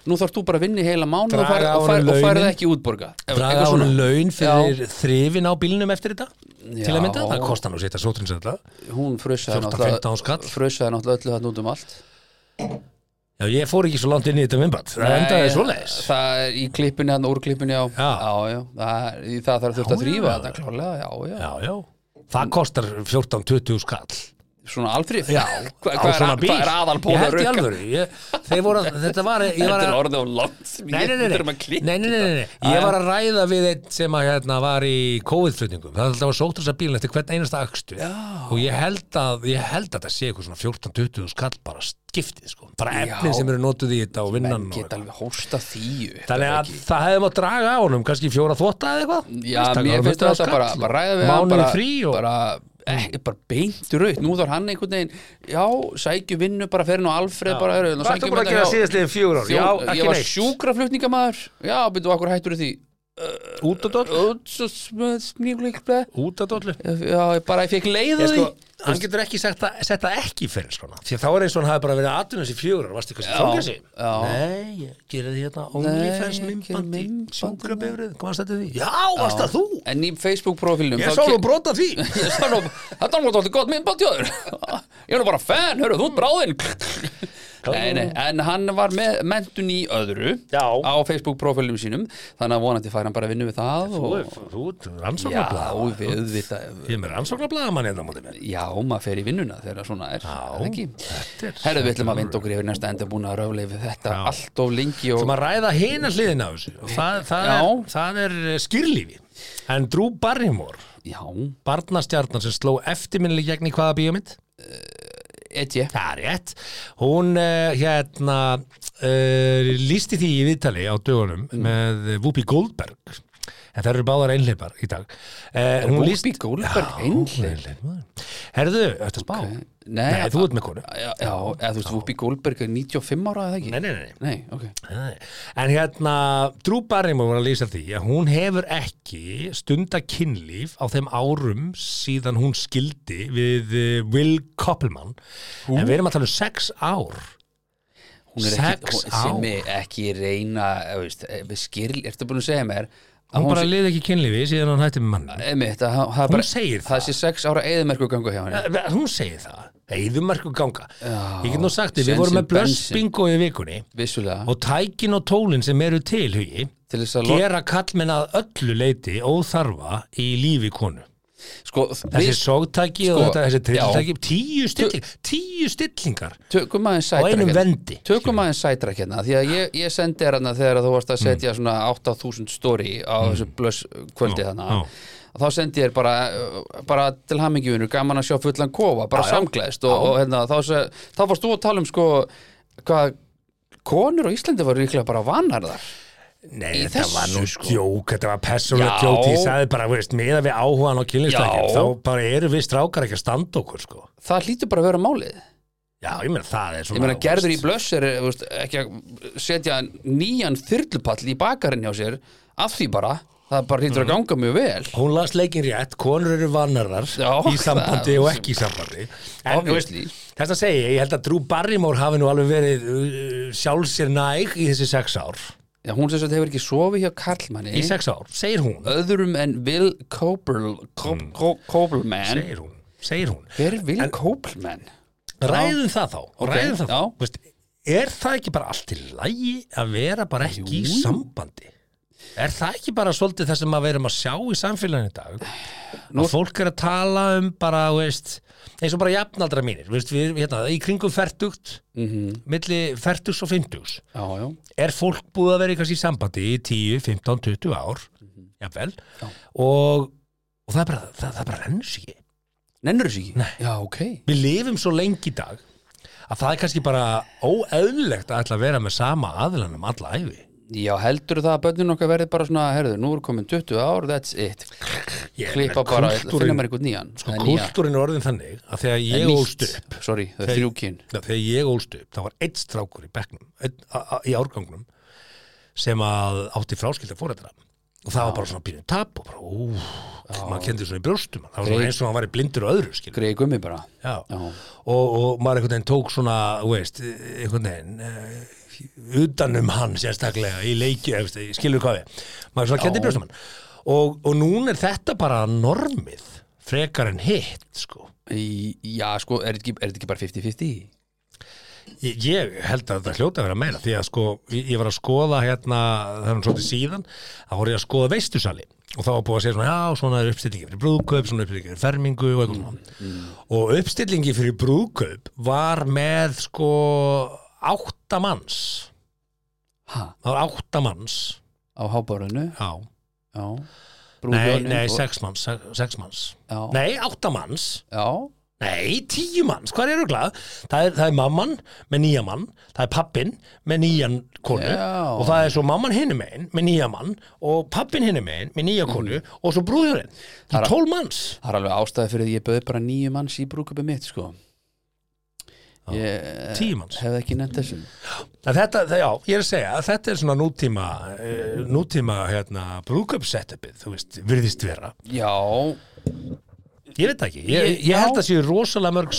S2: nú þarf þú bara að vinna í heila mánuð og fær-
S1: Draga
S2: og fær-
S1: honum
S2: og færð
S1: launin.
S2: ekki útborga
S1: draga á hann laun fyrir þrifin á bílnum eftir þetta til að
S2: Já.
S1: mynda, það kostar nú sitt að sótrins
S2: Hún frusaði
S1: 14-15 skall.
S2: frusaði náttúrulega öllu hann út um allt
S1: Já, ég fór ekki svo langt inn í þetta vimband það endaði svoleiðis
S2: Eh, Það er í klippinni, hann úr klippinni á
S1: Já.
S2: já, já það, er- í það þarf þurft
S1: Já,
S2: að þrýfa
S1: já.
S2: þetta klárlega, já, já,
S1: Já, já Það kostar 14-20 skall
S2: Svona alþrýf
S1: á
S2: Hva, hvað, er,
S1: svona
S2: að-
S1: bíl
S2: hvað er
S1: Ég
S2: aðalpóla
S1: held í alvöru ég, Þeir voru, að- þetta var Ég var
S2: Þetta er
S1: að
S2: orðið á langt
S1: Nei, nei, nei, nei, nei, nei, nei, nei, nei. Ég var að ræða við einn sem að, hérna, var í COVID-flutningum Það er alltaf að sótt þessa bílinn eftir hvern einasta akstu Já. Og ég held að, ég held að það sé eitthvað svona 14-20 skall bara skiptið sko. Bara efnin sem eru notuð í þetta og vinnan og
S2: Geta alveg hósta því upp,
S1: Þannig
S2: eða
S1: að
S2: ekki?
S1: það hefði maður draga á honum kannski fjóra þvota eða eitthvað
S2: Já,
S1: Veist, taka
S2: mér
S1: honum
S2: finnst
S1: 100
S2: þetta bara,
S1: skall
S2: bara ræða við hann,
S1: Mánuði
S2: bara,
S1: frí og
S2: bara, eh, bara beint raut Nú þarf hann einhvern veginn Já, sækju vinnu, bara fer nú Alfreð bara, heru,
S1: Hvað ertu búin að gera síðastliðin fjögur ár? Já,
S2: Ég
S1: ekki
S2: var
S1: neitt.
S2: sjúkraflutningamæður Já, byrju, akkur hættur því
S3: Útadóll
S2: Útsmjöðsmjögleikble
S3: Útadóllu
S2: Já, ég bara ég fekk leið
S3: Ég
S2: á því
S3: sko, hann getur ekki sett það, sett það ekki fyrir skona Því að þá er eins og hann hafi bara verið aðtunum sér fjögur og varst eitthvað sem fangar sig
S2: já.
S3: Nei, ég gerði hérna
S2: Nei,
S3: OnlyFans
S2: ég gerði
S3: mymbandi
S2: myndbandi.
S3: Sjúkrabifrið, hvað stættu því? Já, varst það þú?
S2: En í Facebook-profilnum
S3: Ég
S2: þá
S3: sá nú
S2: ke-
S3: brota því
S2: Ég sá nú- Þetta var náttúrulega gott minn bátjóður Ég er nú bara fan, hörru, þú ert bráðinn Nei, nei, en hann var með mentun í öðru
S3: Já.
S2: Á Facebook-profilnum sínum Þannig að vonandi fær hann bara að vinna við það
S3: Þú
S2: og...
S3: ert- Þú ert
S2: Já,
S3: rannsóknarblaða
S2: við við
S3: Ég er með rannsóknarblaða mann hérna á móti mér
S2: Já, maður fer í vinnuna þegar svona er
S3: Já,
S2: er ekki
S3: þetta er-
S2: Herðu, við ætlum að vinda okkur yfir næsta enda búin að röfla yfir þetta allt of lengi og
S3: sem að ræða hina hliðina á þessu og það, það,
S2: Já.
S3: er, það er eh, skýrlífi en Drew Barrymore
S2: Já,
S3: barnastjarnan sem sló eftirminnileg gegn í hvaða bíómynd
S2: et ég
S3: það er rétt hún uh, hérna uh, lísti því í viðtali á dögunum með Whoopi Goldberg en það eru báðar einhleipar í dag uh,
S2: Whoopi Goldberg einhleip?
S3: herðu, þetta spá
S2: Nei,
S3: Nei, þú ert með konu
S2: Já, já, eða þú veist, Whoopi Goldberg er 95 ára eða ekki?
S3: Nei, nei, nei, nei.
S2: Nei, ok
S3: Nei. En hérna, Drew Barrymore var að lýsa því að hún hefur ekki stunda kynlíf á þeim árum síðan hún skildi við eh, Will Koppelman. En við erum að tala um sex ár.
S2: Hún er
S3: Sex
S2: ekki, hún, sem
S3: ár.
S2: er ekki reyna, eh, veist, eh, við skil, ertu búin að segja mér að
S3: Hún bara
S2: sé-
S3: liði ekki kynlífi síðan hún hætti með mann.
S2: einmitt, að hann- það er
S3: Hún
S2: bara,
S3: segir það. Eh.
S2: Það sé 6 ára eðmerku gangu hjá henni
S3: Hún segir það. Eðumarku ganga.
S2: Já.
S3: Ég get nú sagt því,
S2: Sensin
S3: við vorum með blöss
S2: Bensin.
S3: bingo í vikunni
S2: Vissulega,
S3: og tækin og tólin sem eru til, hugi,
S2: til þess að lo-
S3: gera kallmenn að öllu leiti óþarfa í lífi konu.
S2: Sko,
S3: Þessi
S2: við
S3: sógtæki og
S2: Sko,
S3: þetta, þessi trilltæki,
S2: já.
S3: tíu stillingar, tíu stillingar
S2: tökum aðeins
S3: á
S2: sætra
S3: einum
S2: hérna
S3: vendi.
S2: Tökum aðeins sætra hérna, því að ég, ég sendi þér hérna þegar þú varst
S3: Mm.
S2: að setja svona 8000 story á þessu blöss kvöldi þannig
S3: já.
S2: þá sendi ég þér bara, uh, bara til hamingjuvinur, gaman að sjá fullan kofa bara samglæðst og, og hérna, þá, se- þá fórst þú að tala um sko hvað konur á Íslandi var líklega bara vanarðar
S3: Nei,
S2: Í
S3: þetta
S2: þessu,
S3: var nú
S2: sko.
S3: djók, þetta var persónulega
S2: Já.
S3: djók, ég sagði bara, þú veist, meða við áhugan á kynlistækjum,
S2: Já.
S3: þá bara eru við strákar ekki að standa okkur, sko.
S2: það hlýtur bara að vera málið
S3: Já, ég meina, það er svona...
S2: ég meina
S3: þú
S2: gerður í
S3: veist,
S2: blöss er eh, þú veist, ekki að setja nýjan þyrlupall í bakarinn hjá sér af því bara, það bara
S3: Mhm.
S2: hlýtur að ganga mjög vel
S3: Hún las leikin rétt, konur eru vannarðar
S2: Já,
S3: í sambandi
S2: það-
S3: og ekki í sambandi. En, þú veist,
S2: Obviously.
S3: þess að segja, ég held að Drew Barrymore hafi nú alveg verið uh, sjálfsér næg í þessi sex ár.
S2: Já, hún sem sagt hefur ekki sofið hjá Karlmanni
S3: Í sex ár, segir hún,
S2: öðrum en Will Coperl
S3: Mm.
S2: Coperlman
S3: segir hún, segir hún.
S2: Hver er Will Coperlman?
S3: ræðum það þá, ræðum það þá.
S2: já.
S3: Þú Veist, er það ekki bara allt í lægi að vera bara ekki í sambandi er það ekki bara svolítið það sem að verum að sjá í samfélaginu í dag að fólk er að tala um bara þú veist, eins og bara jafnaldra mínir þú veist, við, hérna, í kringum fertugt milli fertugs og fimmtugs
S2: Já, já,
S3: er fólk búið að vera eitthvað í sambandi í 10, 15, 20 ár jafnvel og, og það, er bara, það, það er bara rennur sig ekki
S2: nennur þessu ekki? Nei Já, ok
S3: við lifum svo lengi í dag að það er kannski bara óeðlilegt að ætla að vera með sama aðlanum alla æfi.
S2: Já, heldur það að börnin okkar verði bara svona herðu, nú er komin 20 ár, that's it
S3: Ég er
S2: klippa
S3: með
S2: bara,
S3: kúltúrin-
S2: finna mér einhvern nýjan
S3: Sko,
S2: Nei, nýja.
S3: kultúrin er orðin þannig að þegar
S2: Nei,
S3: ég
S2: nýtt.
S3: ólst upp
S2: Sorry, það er
S3: Þeir-
S2: þrjúkin
S3: Já, þegar ég ólst upp, þá var eitt strákur í bekknum, einn, a, a, í árgangnum sem að átti fráskilda fóreldra og það var bara svona pínu tap og bara, ú, maður kendi svona í brjóstum það var svona
S2: Grey-
S3: eins og hann væri blindur og öðru, skilur
S2: Greið gummi bara
S3: Já.
S2: Já.
S3: Og, og maður einhvern veginn tók svona þú veist, einhvern veginn uh, utanum hann sérstaklega í leiki, eða, veist, skilur hvað við maður svona kendi brjóstum hann og, og núna er þetta bara normið frekar en hitt sko.
S2: Í, já, sko, er þetta ekki, er þetta ekki bara 50-50?
S3: ég, ég held að þetta hljóta að vera meira því að sko, ég, ég var að skoða hérna, það er nú svolítið síðan þá voru ég að skoða veistusali og þá var búið að segja svona, já, svona er uppstillingi fyrir brúðkaup svona er uppstillingi fyrir fermingu og eitthvað svona og uppstillingi fyrir brúðkaup var með sko átta manns
S2: Ha,
S3: það var átta manns
S2: á hábárunu?
S3: já,
S2: Já
S3: nei,
S2: Brúðhjónin
S3: nei,
S2: og-
S3: sex manns, sex, sex manns.
S2: Já,
S3: nei, átta manns
S2: já
S3: Nei, tíu manns, hvað eru glað? Það er, það er mamman með nýja mann, það er pappin með nýjan konu
S2: Já.
S3: og það er svo mamman hinum einn með nýja mann og pappin hinum einn með nýja konu og svo brúðurinn,
S2: Mm.
S3: það
S2: er
S3: er
S2: að-
S3: tól manns.
S2: Það er alveg ástæði fyrir því ég bauði bara nýju manns í brúköpi mitt sko ég
S1: Tíu manns.
S2: hef ekki nefnt þessu
S1: En þetta, það, já, ég er að segja að þetta er svona nútíma eh, nútíma, hérna, brúðköpsetupið þú veist, virðist vera
S2: já,
S1: Ég veit það ekki, ég,
S2: Ég-
S1: ég, held
S2: já.
S1: að séu rosalega mörg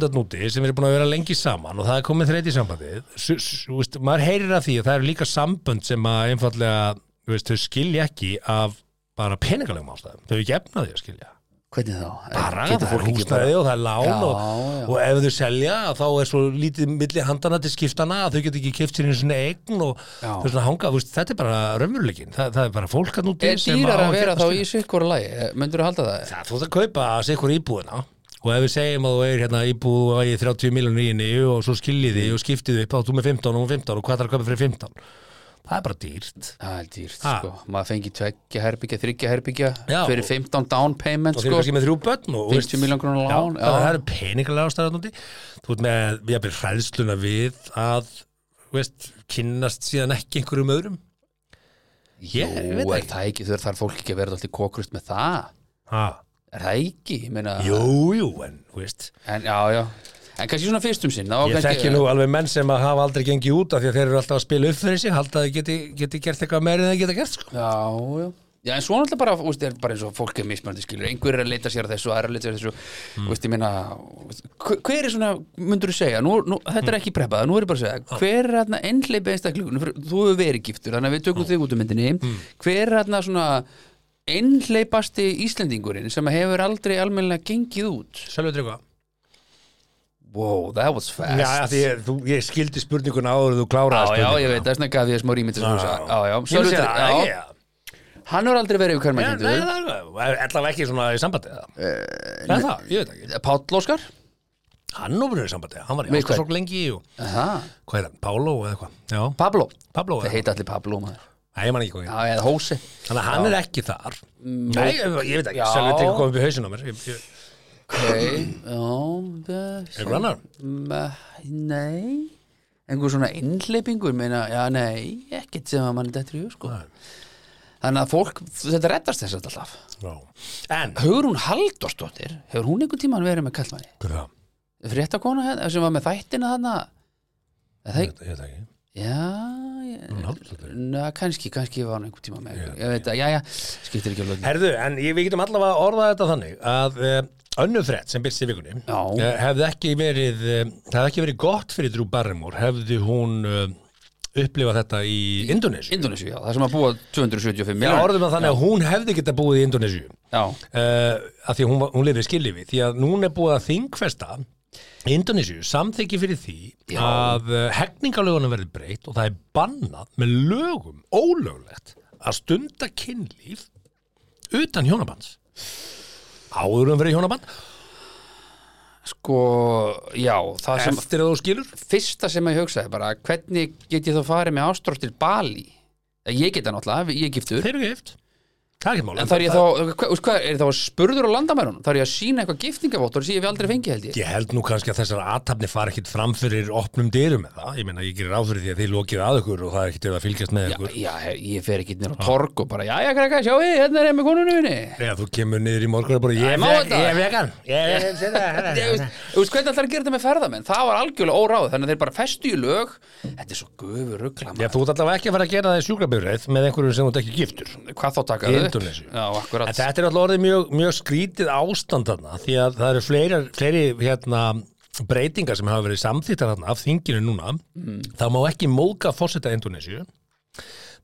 S1: samböndat núti sem eru búin að vera lengi saman og það er komið þreyt í sambandið S -s -s veist, maður heyrir af því að það eru líka sambönd sem að einfallega, þú veist, þau skilja ekki af bara peningalegum ástæðum þau gefna því að skilja
S2: hvernig þá
S1: bara,
S2: Getur
S1: það er
S2: fólk ekki
S1: húsnæði og það er lán
S2: Já,
S1: og,
S2: já.
S1: og ef þau selja þá er svo lítið milli handana til skiptana að þau get ekki keft sér einu svona eign og
S2: Já.
S1: þau svona hanga, þú veist, þetta er bara raunveruleikin, það, það er bara fólk að núti
S2: er dýrar að vera þá í sikkur lagi myndur þú halda það?
S1: Eh, Það þú ert að kaupa sig ykkur íbúðina og ef við segjum að þú er hérna íbúð og að ég 30 miljonur í henni og svo skiljið þið og skiptið þið upp á þú með 15 og hún 15 og hvað þarf að kaupa fyrir 15 Það er bara dýrt
S2: það er dýrt
S1: Ha.
S2: sko, maður fengi tveggja herbyggja, þryggja herbyggja
S1: Já.
S2: fyrir 15 down payment
S1: og þeir eru
S2: sko
S1: kannski með þrjú börn og
S2: 50 milljón
S1: Já,
S2: krónar lán, já.
S1: það eru peningalega ástæðanúti þú ert með, við erum hræðsluna við að, þú veist, kynnast síðan ekki einhverjum öðrum ég
S2: Jú,
S1: veit
S2: er
S1: ekki
S2: það ekki, þurr þarf fólk ekki að vera alltaf kokrust með það
S1: ha,
S2: er það ekki, ég meina
S1: jú, jú, en, þú veist
S2: en, já, já. en kannski svona fyrstum sinn þá
S1: Ég
S2: kannski-
S1: þekki nú alveg menn sem að hafa aldrei gengið út af því að þeir eru alltaf að spila upp fyrir sig halda að þeir geti, geti gert eitthvað meira en þeir geta gert sko.
S2: Já, já Já, en svona alltaf bara, þú veist, er bara eins og fólk er mismöndi skilur, einhver er að leita sér að þessu, aðra að leita sér að þessu,
S1: Hmm.
S2: mm. veist, ég meina, veist, hver- hver er svona, myndur þú segja, nú, nú,
S1: Hmm.
S2: þetta er ekki prepað, nú er ég bara að segja, hver er þarna ennleip einstaklingur, þú hefur verið giftur, þannig að við tökum þig út um myndinni,
S1: Hmm.
S2: hver er þarna svona ennleipasti Íslendingurinn sem hefur aldrei almennilega gengið út?
S1: Sölvi Tryggva
S2: Wow, that was fast.
S1: Já, af því ég, þú, ég skildi spurninguna áður en þú kláraði
S2: Já, já, ég veit, það er svona gaf ég smá rými til þess að, já, já,
S1: Sölvi
S2: Sölvi Tryggva, já,
S1: já
S2: hann hefur aldrei verið yfir
S1: Nei,
S2: karmækjendur,
S1: það er alveg- allavega ekki svona í sambandi eða? Það er það, ég veit ekki
S2: Páll Óskar,
S1: Hann nú verður í sambandi, hann var í
S2: Með
S1: ástasorg lengi og
S2: það,
S1: Hvað er hann, Pálo eða eitthvað? Já,
S2: Pablo
S1: Pablo
S2: Það
S1: eða
S2: heita allir Pablo maður
S1: Nei, ég man ekki hvað
S2: Já,
S1: hann heitir.
S2: eða Hósi
S1: Þannig að hann er ekki þar
S3: Mm.
S1: Nei, ég ég veit ekki,
S2: Já.
S1: Sölvi Tryggva kom upp í hausinn á mér Ég- ég-
S2: okay. Já, það
S1: Einhver annar?
S2: Ma- Nei Einhver svona innleipingur meina, já, nei, ekkert sem að mann dettur í hug, sko Þannig að fólk, þetta reddast þess að alltaf
S1: Já. En,
S2: Hugrún Halldórsdóttir, hefur hún einhvern tímann verið með kallmanni?
S1: hvað er það?
S2: Fréttakona hérna, sem var með þættina þarna Er
S1: Ég
S2: það ekki?
S1: veit- ég veit ekki
S2: Já, ég,
S1: Hún Halldórsdóttir?
S2: na, kannski, kannski var hún einhvern tímann með Ég, veit að, já, já, skiptir ekki alveg
S1: Herðu, en ég, við getum allavega að orða þetta þannig að uh, önnu frétt sem byrst í vikunni
S2: Já.
S1: eh, hefði ekki verið uh, hefði ekki verið gott fyrir Drew Barrymore hefði hún uh, upplifað þetta í Indonési.
S2: Indonesu, já, það sem að búa 275
S1: Já,
S2: miljónir.
S1: orðum að þannig að hún hefði geta búið í Indonési
S2: Já,
S1: uh, að því að hún, var- hún lifið skillifi því að núna er búið að þingfesta Indonésiu samþykki fyrir því
S2: Já.
S1: að uh, hegningalögunum verði breytt og það er bannað með lögum ólöglegt að stunda kynlíf utan hjónabands áður um verið hjónaband
S2: sko, já, það sem
S1: eftir að þú skilur
S2: fyrsta sem ég hugsaði bara, hvernig get ég þá farið með ástrótt til Bali? Ég geta náttúrulega, ég er giftur
S1: þeir eru gift það er ekki mála
S2: En þar ég þá, hvað, veist hvað, er þá spurður á landamærunum? Þar ég að sína eitthvað giftingavottur sem ég hef aldrei fengið held ég
S1: Ég held nú kannski að þessar aðtapni fara ekkit fram fyrir opnum dyrum með það. Ég meina, ég gerir ráð fyrir því að þið lokið að ykkur og það er ekkit að fylgjast með
S2: Já,
S1: ykkur.
S2: já, ég fer ekki nýr á torg og bara, já, já, krakka, sjá við, hérna er ég með konunum minni
S1: Þegar þú kemur niður í morgun og bara, ég
S2: má
S1: er veg-
S2: þetta.
S1: ég er vegan. Ég er vegan.
S2: Ég veist, þú veist, hvernig ætlar að gera þetta með ferðamenn? Það var algjörlega óráð, þannig að þeir bara festu í lög Þetta er svo gufu ruggla
S1: Já, þú ert allavega ekki að fara að gera það í sjúkrabifræð með einhverjum sem þú ert ekki giftur.
S2: Hvað þá
S1: Í
S2: takaðu?
S1: Indónesíu.
S2: Já,
S1: En
S2: akkurat
S1: þetta er alltaf orðið mjög, mjög skrítið ástand þarna því að það eru fleiri, fleiri hérna, breytingar sem hafa verið samþýttar þarna af þinginu núna. Það má ekki móka fórseta Indonésiu.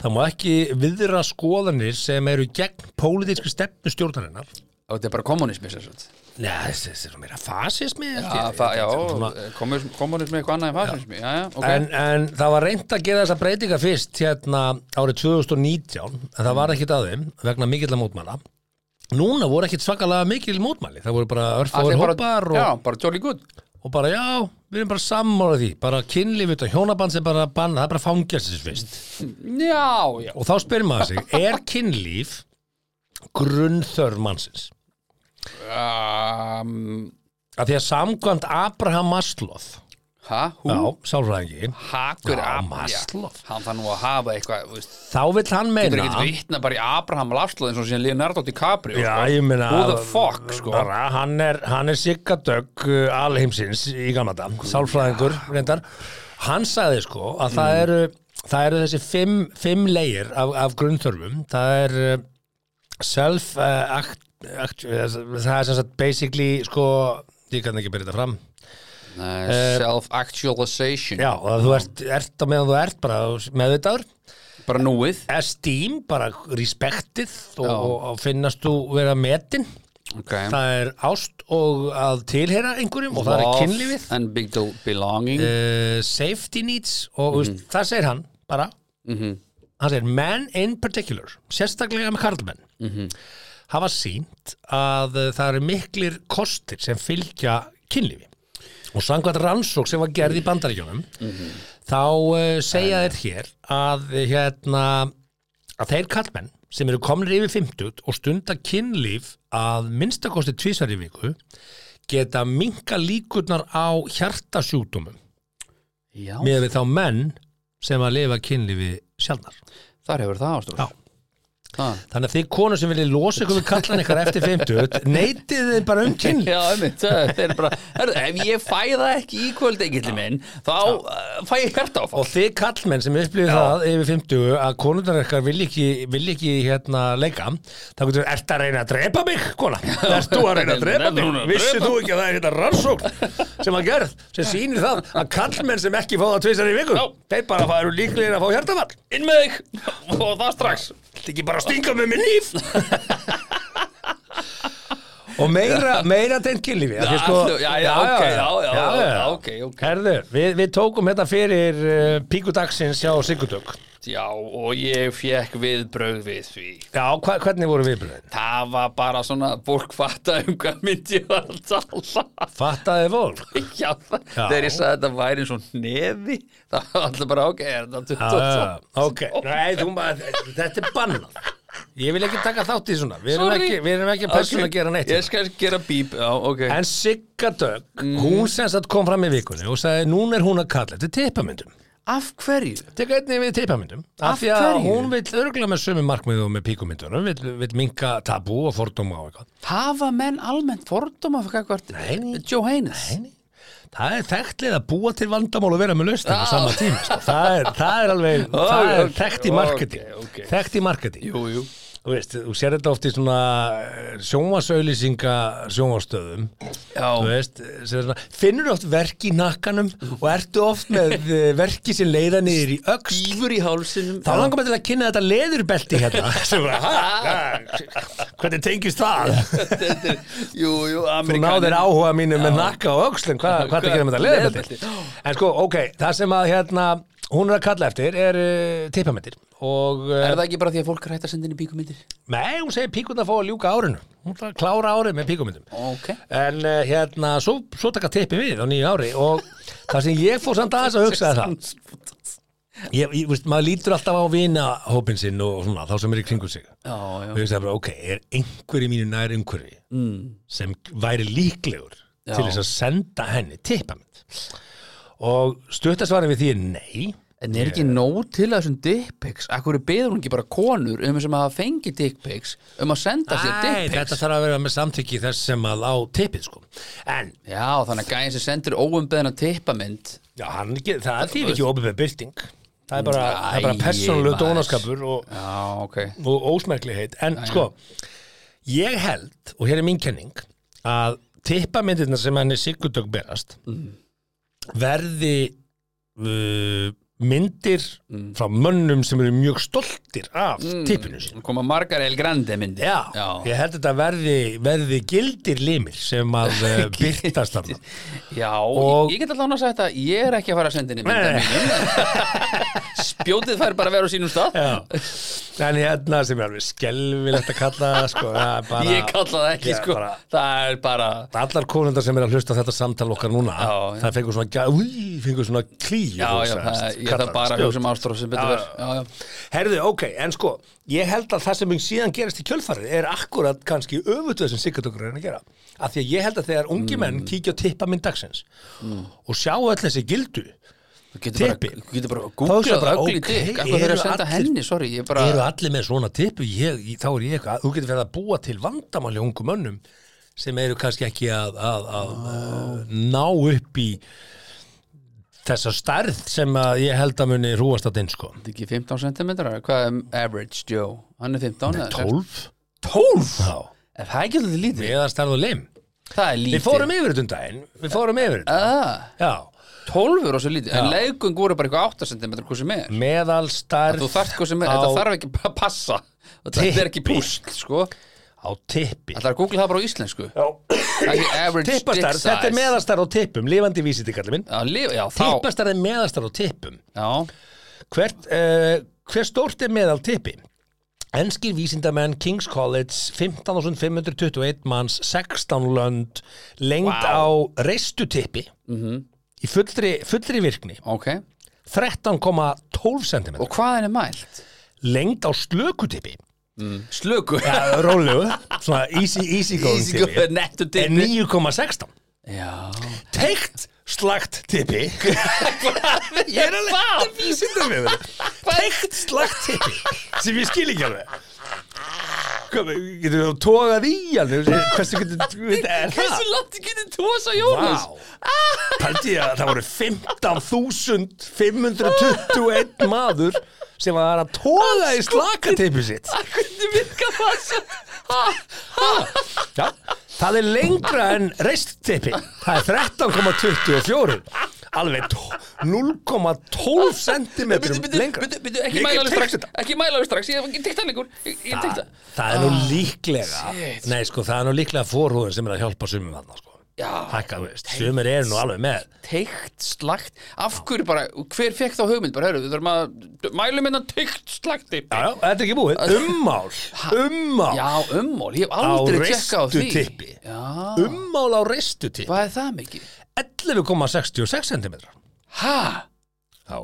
S1: Það má ekki viðra skoðanir sem eru gegn pólitísku stefnu stjórnarinnar.
S2: Og þetta er bara kommunismi sér svolítið
S1: Nei, þessi þessi er meira fasismi. held
S2: Já,
S1: ég.
S2: fa- já,
S1: Þetta er svona-
S2: komu- kommunismi er eitthvað annað en fasismi Já, já, ok
S1: En, en það var reynd að gera þessa breytinga fyrst hérna árið 2019 en það var ekkit að þeim vegna mikill mótmæla Núna voru ekkit svakalega mikil mótmæli það voru bara örfáður
S2: Allir bara-
S1: hópar og,
S2: Já, bara jolly good
S1: og bara já, við erum bara sammála því bara kynlíf utan hjónaband sem bara banna það er bara fangelsis fyrst
S2: Já, já
S1: og þá spyrir maður sig, er kynlíf grunnþörf mannsins?
S2: um,
S1: Af því að samkvæmt Abraham Maslow
S2: ha, hú,
S1: Já, sálfræðingi
S2: hakur
S1: Já,
S2: Ab-
S1: Maslow.
S2: Já, hann þarf nú að hafa eitthvað, þú veist,
S1: Þá vill hann
S2: getur
S1: meina
S2: ekkert vitna bara í Abraham Laslo eins og síðan Leonardo DiCaprio
S1: Já,
S2: sko.
S1: ég meina
S2: who the fuck, sko
S1: bara, Hann er, hann er Sigga Dögg uh, alheimsins í gamata Sálfræðingur, reyndar Hann sagði sko að
S2: Mm.
S1: það eru það eru þessi fimm, fimm leir af, af grunnþörfum það er uh, self uh, act, act, eh, það er sem sagt basically sko, ég kann ekki byrja þetta fram
S2: Nei, self-actualization
S1: Eh, Já, og að þú ert, ert á meðan þú ert bara meðvitaður
S2: bara núið,
S1: esteem, bara respektið og,
S2: Já.
S1: og, og finnast þú vera metin
S2: ok
S1: það er ást og að tilheyra einhverjum og það er
S2: Love
S1: kynlífið
S2: and big del- belonging
S1: uh, safety needs og mm veist, það segir hann bara hann segir men in particular sérstaklega með karlmenn hafa sínt að uh, það eru miklir kostir sem fylgja kynlífi og samkvæmt rannsók sem var gerð í bandaríkjónum þá uh, segja þeir hér að uh, hérna að þeir karlmenn sem eru komnir yfir 50 og stunda kynlíf að minnstakosti tvísvar í viku geta minka líkurnar á hjartasjúkdómum
S2: já,
S1: með við þá menn sem að lifa kynlífi sjálfnar.
S2: þar hefur það ástofn
S1: Já.
S2: það
S1: Þannig að þið konur sem viljið losa ykkur við kallan ykkar eftir 50 neytið þið bara um kynlíf.
S2: Já, einmitt, það það er bara herru, Ef ég fæða ekki í kvöldengilli minn þá uh, fæ ég hvert
S1: Og
S2: áfall
S1: þið kallmenn sem upplifið það yfir 50 að konundar ykkar vilja ekki, vilja ekki hérna, leika, þá getur við, ert að reyna að drepa mig, kona? Ert þú að reyna að drepa mig?
S2: Núna,
S1: Vissið
S2: drepa.
S1: þú ekki að það er hérna rannsókn sem að gerð, sem sýnir það að kallmenn sem ekki fá það tvisar í viku, þeir bara færu líklegir að fá hjartafall.
S2: Inn með þig og það strax
S1: Þetta ekki bara að stinga með minn líf Og meira, meira tengt kynlífi af því
S2: Já,
S1: sko,
S2: allu- já, já, ok, já, já, já, ok, ok.
S1: Herðu, við, við tókum þetta fyrir uh, píkudagsins hjá Sigurdök
S2: Já, og ég fekk viðbrögð við því
S1: Já, hva, hvernig voru viðbröðin?
S2: Það var bara svona, fólk fatta um hvað myndi ég var að tala
S1: Fattaði fólk
S2: Já, já. þegar ég sagði að þetta væri eins og nefi það var alltaf bara ok, er þetta
S1: Já, já,
S2: 22
S1: Ok, nei, þú maður, þetta er bannað Ég vil ekki taka þátt í svona Við erum
S2: Sorry. Ah.
S1: ekki, við erum ekki persónu að gera neitt
S2: Ég skal gera sko. bíp, já, ok
S1: En Sigga Dögg,
S2: Mhm.
S1: hún sem sagt kom fram í vikunni og sagði, núna er hún að kalla þetta teipamyndum
S2: Af hverju?
S1: Teka einnig við teipamyndum Af
S2: Af
S1: því að
S2: hverju?
S1: hún vill örgulega með sömu markmiðu og með píkumyndunum vill, vill minka tabú og fordóma og eitthvað
S2: Hafa menn almennt fordóma fyrir hvað
S1: Nei.
S2: Johannes?
S1: Það er þekklið að búa til vandamál og vera með lausnir á sama tíma sko. það, er, það er alveg, það er
S2: Ah. ok,
S1: þekkt í marketing
S2: ok, ok.
S1: Þekkt í marketing
S2: Jú, jú
S1: Þú veist, þú sér þetta oft í svona eh, sjónvasauðlýsinga sjónvastöðum
S2: Já.
S1: Þú veist, sem er svona, finnur oft verk í nakkanum og ertu oft með eh, verki sem leiða niður í öxl
S2: Ífur í hálsinum
S1: Þá langar maður til að kynna þetta leðurbelti hérna sem bara, ha, ha, hvernig tengist það?
S2: Þetta er- Jú, jú,
S1: Þú
S2: amerikanin
S1: náðir áhuga mínu með nakka og öxlum, hvað hva það gerir með þetta leðurbelti? En sko, ok, það sem að hérna, hún er að kalla eftir er uh, tippamindir og, uh,
S2: Er það ekki bara því að fólk er hægt að senda inn í bíkumindir?
S1: nei, hún segir píkund að fá að ljúka árinu, hún ætlar að klára árið með píkumindum.
S2: Ok
S1: En uh, hérna, svo, svo taka tippi við á nýju ári og það sem ég fór samt aðeins að hugsa það ég, ég, veist, maður lítur alltaf á vinahópin sinn og svona, þá sem er í kringu sig
S2: Já, já
S1: og ég sagði bara, ok, er einhver í mínu nær umhverfi sem væri líklegur til þess að senda henni tippamind og stuttasvarið við því er nei
S2: En er ekki nóg til að þessum dickpics? Akkur beður hún ekki bara konur um sem hafa fengið dickpics um að senda sér
S1: Æ, þetta
S2: dickpics?
S1: þarf að vera með samtykki þess sem að á tippið sko en
S2: Já, þannig að gæðin sem sendir óumbeðina tippamind
S1: já, hann, ekki- það þýr ekki óbefið byrting það er bara, það er bara
S2: Æi,
S1: persónulegu
S2: maður.
S1: dónaskapur og,
S2: Já, ok
S1: og ósmerkligheit en sko, ég held og hér er mín kenning að tippamyndirna sem henni Sigurdögg berast
S2: Mm.
S1: verði uh, myndir
S2: Mm.
S1: frá mönnum sem eru mjög stoltir af tippinu sín
S2: Nú Koma margar El Grande myndir
S1: Já,
S2: Mm. já,
S1: ég held að þetta verði, verði gildir limir sem að uh, byrtast þarna
S2: já
S1: Og-
S2: ég, ég get allan að segja þetta Ég er ekki að fara að senda inn í
S1: Nei,
S2: myndar mínum Spjótið fær bara að vera á sínum stað
S1: Já. En hérna sem er alveg skelvilegt að kalla það, sko, það er bara...
S2: Ég kalla það ekki
S1: Ég
S2: sko
S1: bara-
S2: Það er bara
S1: Allar konundar sem er að hlusta á þetta samtal okkar núna,
S2: Já, já.
S1: það fengur svona, gæ- új, fengur svona klíu.
S2: Já, já, það, ég þarf bara að hugsa um ástróf sem
S1: Já,
S2: betur verð Já, já,
S1: Herðu, ok, en sko, ég held að það sem síðan gerist í kjölfarið er akkurat kannski öfutuð sem sigurdokur er að gera. Af því að ég held að þegar ungi menn kíkja á tippa minn dagsins
S2: Mm.
S1: og sjá öll þessi gildu,
S2: þú getur bara,
S1: Tippi.
S2: þú getur bara
S1: Þá er
S2: googlað
S1: það bara,
S2: ugly
S1: ok,
S2: dick Akkur þeir
S1: eru
S2: eru að senda
S1: allir-
S2: henni, sorry Ég bara,
S1: eru allir með svona tippu, ég, ég, þá er ég eitthvað, þú getur verið að búa til vandamáli ungu mönnum sem eru kannski ekki að, að, að, að ná upp í þessa stærð sem að ég held að muni rúast að dinn, sko.
S2: þetta ekki 15 cm Hvað er average Joe? Hann er 15 eða 16?
S1: 12? 12? Já,
S2: Ef það er ekki alltaf lítið
S1: meðarstærð og lim.
S2: Það er lítið
S1: Við fórum yfir þetta um daginn, við fórum yfir þetta,
S2: Ah,
S1: já.
S2: 12 er svo lítið, en legung voru bara eitthvað 8 cm hvað sem er
S1: Meðalstarð
S2: Þú þarft hvað sem er,
S1: Mm. á,
S2: þetta þarf ekki bara að passa Þetta er ekki
S1: Tippi.
S2: púsl, sko
S1: á tippi.
S2: Það er að googla það bara á íslensku Það er ekki average dick
S1: Tippastarð,
S2: size.
S1: þetta er meðalstarð á tippum, lifandi vísið til kallið minn.
S2: Já, lif- Já, þá
S1: Tippastarð er meðalstarð á tippum.
S2: Já,
S1: Hvert, uh, hver stórt er meðal tippi? Enskir vísindamenn, King's College, 15.521 manns, 16 lönd, lengd á reistu tippi, í fullri, fullri virkni,
S2: ok
S1: 13,12 cm,
S2: Og hvað er mælt?
S1: lengd á slökutippi,
S2: Slöku
S1: Ja, rólegu, svona easy, easy going
S2: Easy go,
S1: tippi
S2: nettu
S1: er
S2: tippi
S1: 9,16
S2: Já
S1: teikt slagt tippi ég er alveg þetta vísindar með teikt slagt tippi sem ég skil ekki alveg Hvað, getur þú tógað í alveg hversu getur er það
S2: Hversu langt getur tósa
S1: Vá,
S2: Jónas?
S1: pældi ég að það voru 15.521 maður sem var að tóða í slakatippi sitt
S2: Hvernig virka það svo? Ha?
S1: Já, það er lengra en reisttippi Það er 13,24 Alveg tó- 0,12 cm
S2: Byrju, byrju,
S1: lengra
S2: byrju, byrju, ekki
S1: Ég
S2: mæla
S1: get
S2: alveg
S1: teygt
S2: strax
S1: þetta.
S2: Ekki mæla alveg strax, ég hef tekt hann ykkur Ég ég tekt
S1: Það,
S2: það
S1: það er nú líklega
S2: Ah, shit.
S1: Nei, sko, það er nú líklega fórhúðin sem er að hjálpa sumum þarna, sko
S2: Já,
S1: Hækka, þú veist, sumir eru nú alveg með
S2: teikt slagt Af hverju bara, hver fekk þá hugmynd? Bara, herru, við þurfum að mælum innan teikt slagti
S1: Já, já, þetta er ekki búið Ummál, ummál
S2: Já, ummól, ég hef
S1: á
S2: aldrei tjekka á
S1: reistu
S2: því
S1: tippi
S2: Já,
S1: Ummál á reistu tippi
S2: hvað er það mikið?
S1: 11,66 cm
S2: Ha?
S1: Já,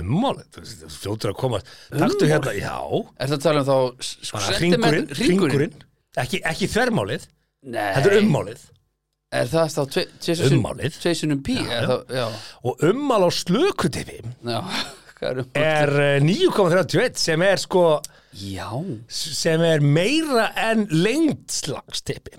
S1: ummálið Þú veist, þú fljótur að koma Taktu hérna, já
S2: Er það að tala um þá s- sko,
S1: bara
S2: sentimet-
S1: ringurinn, ringurinn. Ekki, ekki þvermálið,
S2: Nei,
S1: þetta er ummálið
S2: Er það þá tve- tvisvar sinnum-
S1: Ummálið.
S2: tvisvar sinnum pí Já,
S1: já.
S2: já, já,
S1: og ummál á slökutipi
S2: já. Hvað er ummál?
S1: er eh, 9,31 sem er sko
S2: Já,
S1: sem er meira en lengdslagstipi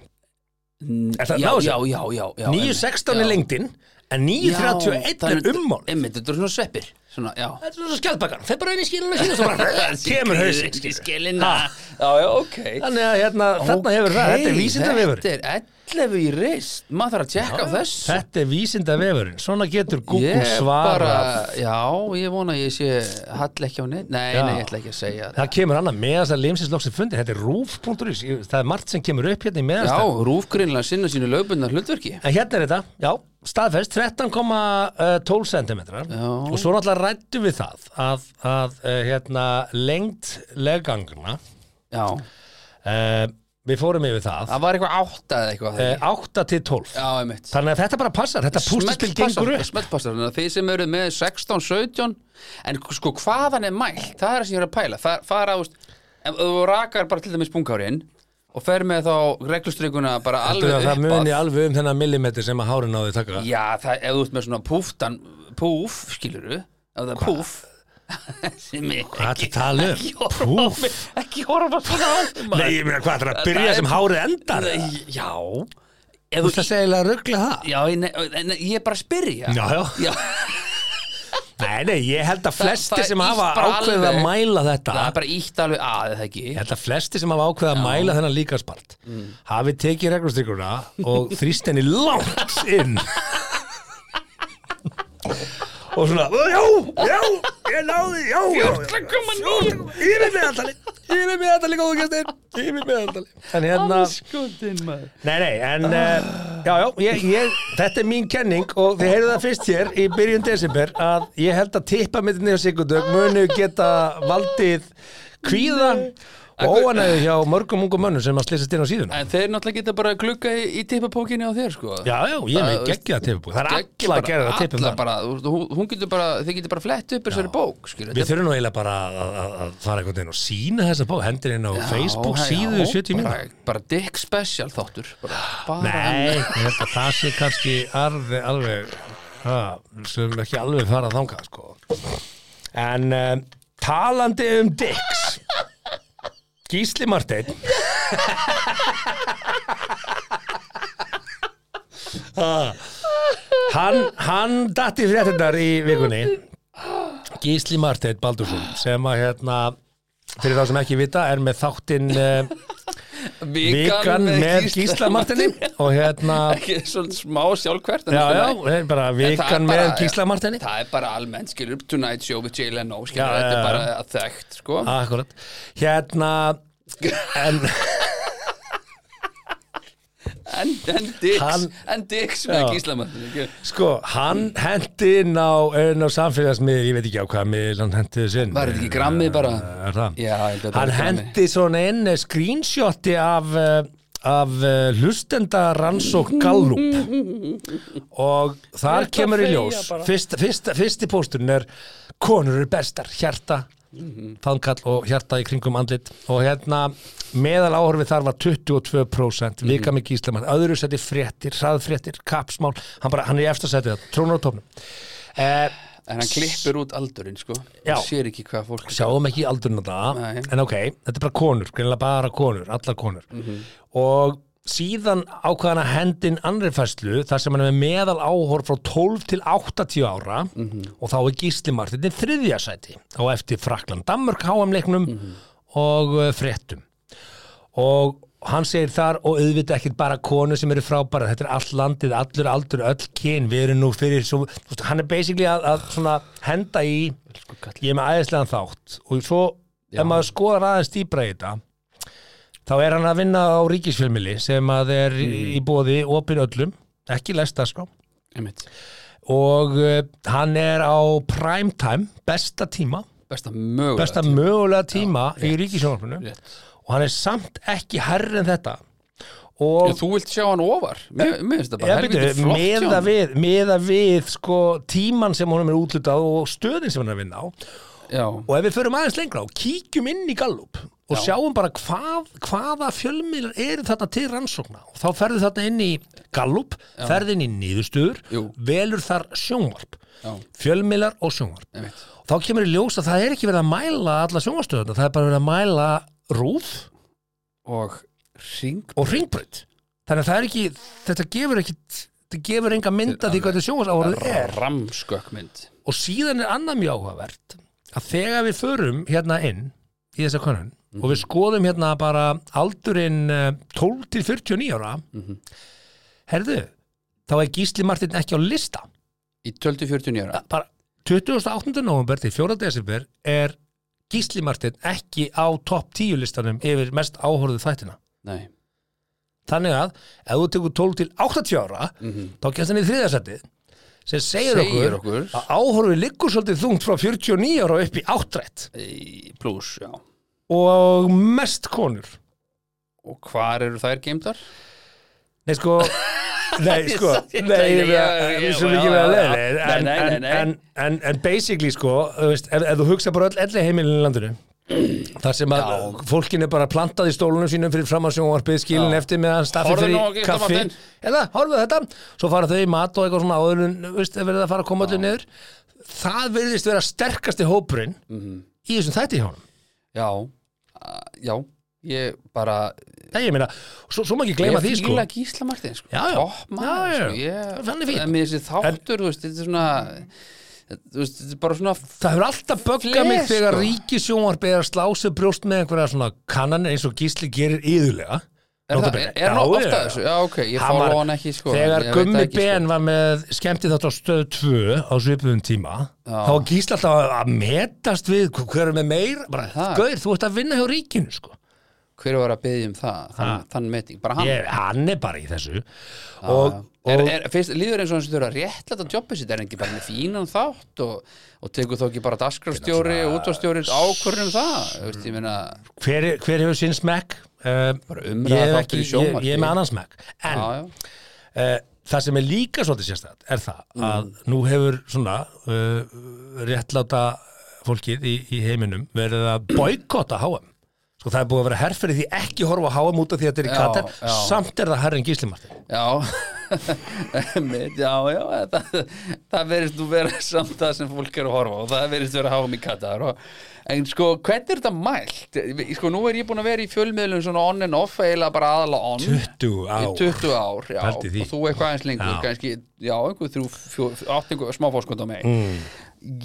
S1: Er það
S2: Mm, já,
S1: náðu
S2: já,
S1: sér?
S2: já, já, já
S1: 9,16 er
S2: já.
S1: lengdin en
S2: Já,
S1: 9,31
S2: þannig-
S1: er ummál
S2: Einmitt, þetta eru svona sveppir Svona, já
S1: Þetta er svona skjaldbakkan, þeir bara inn í skilinu sína og svo bara kemur hausinn skilurðu.
S2: Skilina Já, já, ok
S1: Þannig að hérna, þarna hefur það, þetta er
S2: Ok,
S1: vísindavefur
S2: Þetta er 11 í reist Maður þarf að tjekka á þessu
S1: Þetta er vísindavefurinn, svona getur Google
S2: Ég
S1: svara
S2: bara- Já, ég vona að ég sé Hall ekki á neitt Nei,
S1: Já.
S2: nei, ég ætla ekki að segja
S1: Það kemur annað með þess að limsinslokksin fundir, þetta er rúf.is, Ég- það er margt sem kemur upp hérna í
S2: Já,
S1: meðanstæð.
S2: Rúf greinlega sinna sínu lögbundar hlutverki
S1: En hérna er þetta, já, staðfest, 13,12 cm
S2: Já.
S1: og svo náttúrulega rættum við það að, að uh, hérna, lengt leggangna,
S2: Já,
S1: uh, við fórum yfir það,
S2: það var eitthvað átta eða eitthvað
S1: uh,
S2: þegar
S1: 8 til 12.
S2: Já, einmitt
S1: Þannig að þetta bara passar, þetta pústaspil gengur upp.
S2: Smeltpassar, þannig að þið sem eru með 16, 17 En sko hvaðan er mælt, það er það sem ég er að pæla Það, það er að, þú veist, ef þú rakar bara til dæmis bunkárin Og fer með þá reglustrykuna bara
S1: Heldur
S2: alveg
S1: að það muni
S2: að
S1: alveg um þennan millimetri sem að hárin náði taka.
S2: Já, það, ef þú ert með svona púftan, púf, skilurðu Ef það er púf Sem er
S1: Hvað er þetta að tala um? Púf.
S2: ekki horfa svona á maður.
S1: Nei, ég meina hvað, það er að
S2: Það
S1: byrja
S2: er-
S1: sem hárið endar.
S2: Nei, Já Ef
S1: Þú veist
S2: þú
S1: að segja eiginlega að ruggla það?
S2: Já, ég- nei, nei, ég er bara að spyrja
S1: Já, já.
S2: Já,
S1: Nei, nei, ég held að flesti
S2: það
S1: sem
S2: ýtt
S1: hafa
S2: bara
S1: ákveðið að
S2: alveg.
S1: mæla þetta
S2: það er bara ítt alveg að, eða ekki
S1: Ég held að flesti sem hafa ákveðið að mæla þennan líkaspart hafi tekið reglustrykkuna og þrýst henni langt inn og svona Já, já, ég náði, já, já, já
S2: 14,9
S1: Yfir meðaldali, yfir meðaldali góðu gestir Yfir meðaldali En hérna,
S2: Skotin maður
S1: nei, nei, en uh, Já, já, ég, ég, þetta er mín kenning og þið heyrðu það fyrst hér í byrjun desember að ég held að tippa mitt nefnir sigurdög munu geta valdið
S3: kvíða og óanæðu hjá mörgum ungum mönnum sem að slýsast inn á síðuna
S2: En þeir náttúrulega geta bara að glugga í, í tippapókinni á þér sko
S3: Já, já, ég er með geggja að tippum Það er
S2: Geggjað
S3: alla að gera það tippum
S2: alla
S3: það
S2: bara, þú veist, hún- Hún getur bara, þið getur bara flett upp þessari bók skilur,
S3: Við
S2: þetta er
S3: þurfum nú eiginlega bara að- að að fara einhvern veginn og sína þessa bók, hendur inn á Facebook
S2: Já,
S3: síðu
S2: já,
S3: 70 mínútur.
S2: bara, bara dick special þáttur bara, bara
S3: Nei, ég held að það sé kannski alveg, alveg ha, sem ekki alveg fara að þanga sko. en um, talandi um dicks Gísli Marteinn Ha, hann, hann datti fréttinnar í vikunni Gísli Marteinn Baldursson sem að hérna fyrir þá sem ekki vita er með þáttinn uh, Vikan með Gísla Martinni og hérna
S2: ekki svolítið smá sjálfkvært en
S3: Já,
S2: þetta
S3: já,
S2: er
S3: það er bara vikan
S2: En það er
S3: með
S2: bara-
S3: Gísla Martinni
S2: Það er bara almennt, skilur, Tonight Show við Jay Leno, skilur,
S3: Já,
S2: þetta
S3: já,
S2: er
S3: já.
S2: bara þekkt, sko.
S3: Akkurat Hérna En
S2: En, en Dix,
S3: Hann-
S2: en Dix
S3: Já.
S2: með Gíslamann.
S3: sko, hann hendi inn á, inn á samfélagsmiðl, ég veit ekki á hvað miðl hann hendi þessu inn
S2: Var þetta ekki grammið bara?
S3: Eh, Er það?
S2: Já, ég held að þetta var
S3: Hann hendi svona inn eh, screenshoti af, eh, af eh, hlustenda rannsók Gallup og þar
S1: Þetta
S3: kemur í
S1: þegja
S3: ljós
S1: bara.
S3: fyrst, fyrst, fyrsti pósturinn er konur eru bestar, hjarta fangall og hjarta í kringum andlit og hérna meðal áhorfið þar var 22% vika með gíslamann, öðru seti fréttir hraðfréttir, kapsmál, hann, bara, hann er í eftirsætið það, trónur á tófnum eh,
S2: En hann klippur út aldurinn, sko.
S3: Já.
S2: Hann sér ekki hvað fólk...
S3: sjáum ekki aldurinn á það
S2: Nei.
S3: en ok, þetta er bara konur, greinlega bara konur allar konur og síðan ákvaðan að hendin anri færslu þar sem hann er með meðal áhorf frá 12 til 80 ára og þá er Gísli Martin þriðja sæti á eftir Frakland Danmörk HM-leiknum og uh, fréttum og hann segir þar og auðvitað ekkert bara konur sem eru frábæra þetta er allt landið, allur aldur, öll kyn við erum nú fyrir svo, þú veist, hann er basically að, að svona henda í
S2: Sko, kall-
S3: ég er með æðislegan þátt og svo ef maður skoðar aðeins dýbra í þetta þá er hann að vinna á ríkisfilmili sem að er
S2: Mm.
S3: í- í bóði opin öllum, ekki lesta sko
S2: Einmitt.
S3: og uh, hann er á primetime, besta tíma
S2: Besta mögulega.
S3: besta
S2: tíma.
S3: mögulega tíma í ríkisjónarfinu
S2: Rétt.
S3: og hann er samt ekki herri en þetta og
S2: Já, Þú vilt sjá hann ofar. Mér mér finnst þetta bara
S3: Já,
S2: helviti
S3: byrju,
S2: flott hjá
S3: meða
S2: honum.
S3: við, meða við sko, tíman sem honum er útlutað og stöðin sem hann er að vinna á
S2: Já.
S3: Og ef við förum aðeins lengra og kíkjum inn í Gallup og sjáum bara hvað, hvaða fjölmiðlar eru þarna til rannsókna og þá ferðu þarna inn í Gallup, ferðu inn í niðurstöður,
S2: Jú.
S3: velur þar sjónvarp,
S2: Já.
S3: fjölmiðlar og sjónvarp.
S2: Einmitt.
S3: Þá kemur í ljós að það er ekki verið að mæla alla sjónvarpstöðuna, það er bara verið að mæla rúf
S2: Og ring...
S3: og ringbröð. Þannig að það er ekki, þetta gefur ekki, þetta gefur enga mynda því hvað þetta sjónvarpsáhorið er
S2: Ramskökkmynd.
S3: og síðan er annað mjög áhugavert að þegar við förum hérna inn í þessa konun og við skoðum hérna bara aldurinn eh, 12 til 49 ára herðu, þá er Gísli Martin ekki á lista
S2: Í 12-14 ára.
S3: bara 28. november til 4. desember er Gísli Martin ekki á topp 10 listanum yfir mest áhorðu þættina
S2: Nei.
S3: þannig að ef þú tekur 12 til 80 ára þá kemst hann í þriðarsætið sem segir,
S2: Segir
S3: okkur Ah.
S2: okkur.
S3: að áhorfið liggur svolítið þungt frá 49 ára og upp í áttrætt
S2: Í Plus, já.
S3: og mest konur
S2: Og hvar eru þær geimdar?
S3: Nei sko Nei sko
S2: Ég-
S3: Nei,
S2: ég-
S3: ég
S2: ég-
S3: er
S2: ég-
S3: svo
S2: já,
S3: mikið
S2: já,
S3: með að
S2: já.
S3: leiðir
S2: Nei,
S3: en,
S2: nei, nei,
S3: en,
S2: nei.
S3: en, en, en basically sko þú veist, ef, ef þú hugsa bara öll elli heimilin í landinu þar sem að fólkin er bara plantað í stólunum sínum fyrir framarsjónvarpið skilin eftir meðan staffið
S2: Horfðu
S3: fyrir
S2: nú á Gísla
S3: kaffi
S2: Martein.
S3: eða horfðu þetta, svo fara þau í mat og eitthvað svona áður en þú veist, er verið að fara að koma öllu niður það verðist vera sterkasti hópurinn
S2: Mhm.
S3: í þessum þætti hjá honum
S2: Já, a- já Ég bara
S3: það ég meina, svo, svo má ekki gleyma því
S2: Ég
S3: sko
S2: fíla Gísla Martin sko.
S3: Já, já.
S2: Topp maður,
S3: Já, já.
S2: sko. Ég-
S3: Hann er fínn.
S2: En mér þessi þáttur, þú veist, þetta er svona Þú veist, þetta er bara svona
S3: Það hefur alltaf böggað
S2: Fles,
S3: mig þegar
S2: sko.
S3: ríkisjónvarpið er að slá sig brjóst með einhverja svona kannanir eins og Gísli gerir yðurlega.
S2: Er, það, er, er hann ofta þessu? Já, ok, ég
S3: Hann var-
S2: fóla hann ekki sko, ég
S3: Þegar
S2: veit
S3: Gummi
S2: ekki, sko.
S3: Ben var með skemmti þátt á stöðu 2 á svipuðum tíma þá var Gísli alltaf að- að metast við hver er með meir bara,
S2: Það.
S3: Gauður, þú ert að vinna hjá ríkinu sko.
S2: hver var að byggja um það, þann, þann meting bara hann,
S1: ég, hann er bara í þessu og,
S2: er,
S1: og
S2: er, fyrst, líður eins og hans þurfa réttlætt að jobba sitt er hann ekki bara með fínan þátt og, og tekur þó ekki bara daskrafstjóri og útvarstjóri ákvörðum um það þú veist, ég meina,
S1: hver, er- hver hefur sinn smekk uh,
S2: umræða
S1: ég, hef
S2: þáttur í
S1: ekki- ég,
S2: sjónvarpi.
S1: ég er með annan smekk en
S2: já, já
S1: Eh, það sem er líka svolítið sérstætt er
S2: Mm.
S1: það að nú hefur svona uh, réttláta fólkið í, í heiminum verið að boykotta HM sko það er búið að vera herfyrir því ekki horfa á HM út af því að þetta er í
S2: Já,
S1: Katar
S2: já.
S1: samt er það herrin gíslimartin
S2: Já, mitt, já, já, það, það verðist nú vera samt það sem fólk er að horfa og það verðist vera háum í Katar og, en sko, hvernig er þetta mælt? Sko, nú er ég búin að vera í fjölmiðlum svona on and off, eiginlega bara aðalega on
S1: 20
S2: í
S1: ár
S2: 20 ár, já,
S1: Pældi því.
S2: og þú eitthvað aðeins lengur,
S1: Já.
S2: kannski, já, einhver þrjú, fjó, átt einhver smá fórskund á mig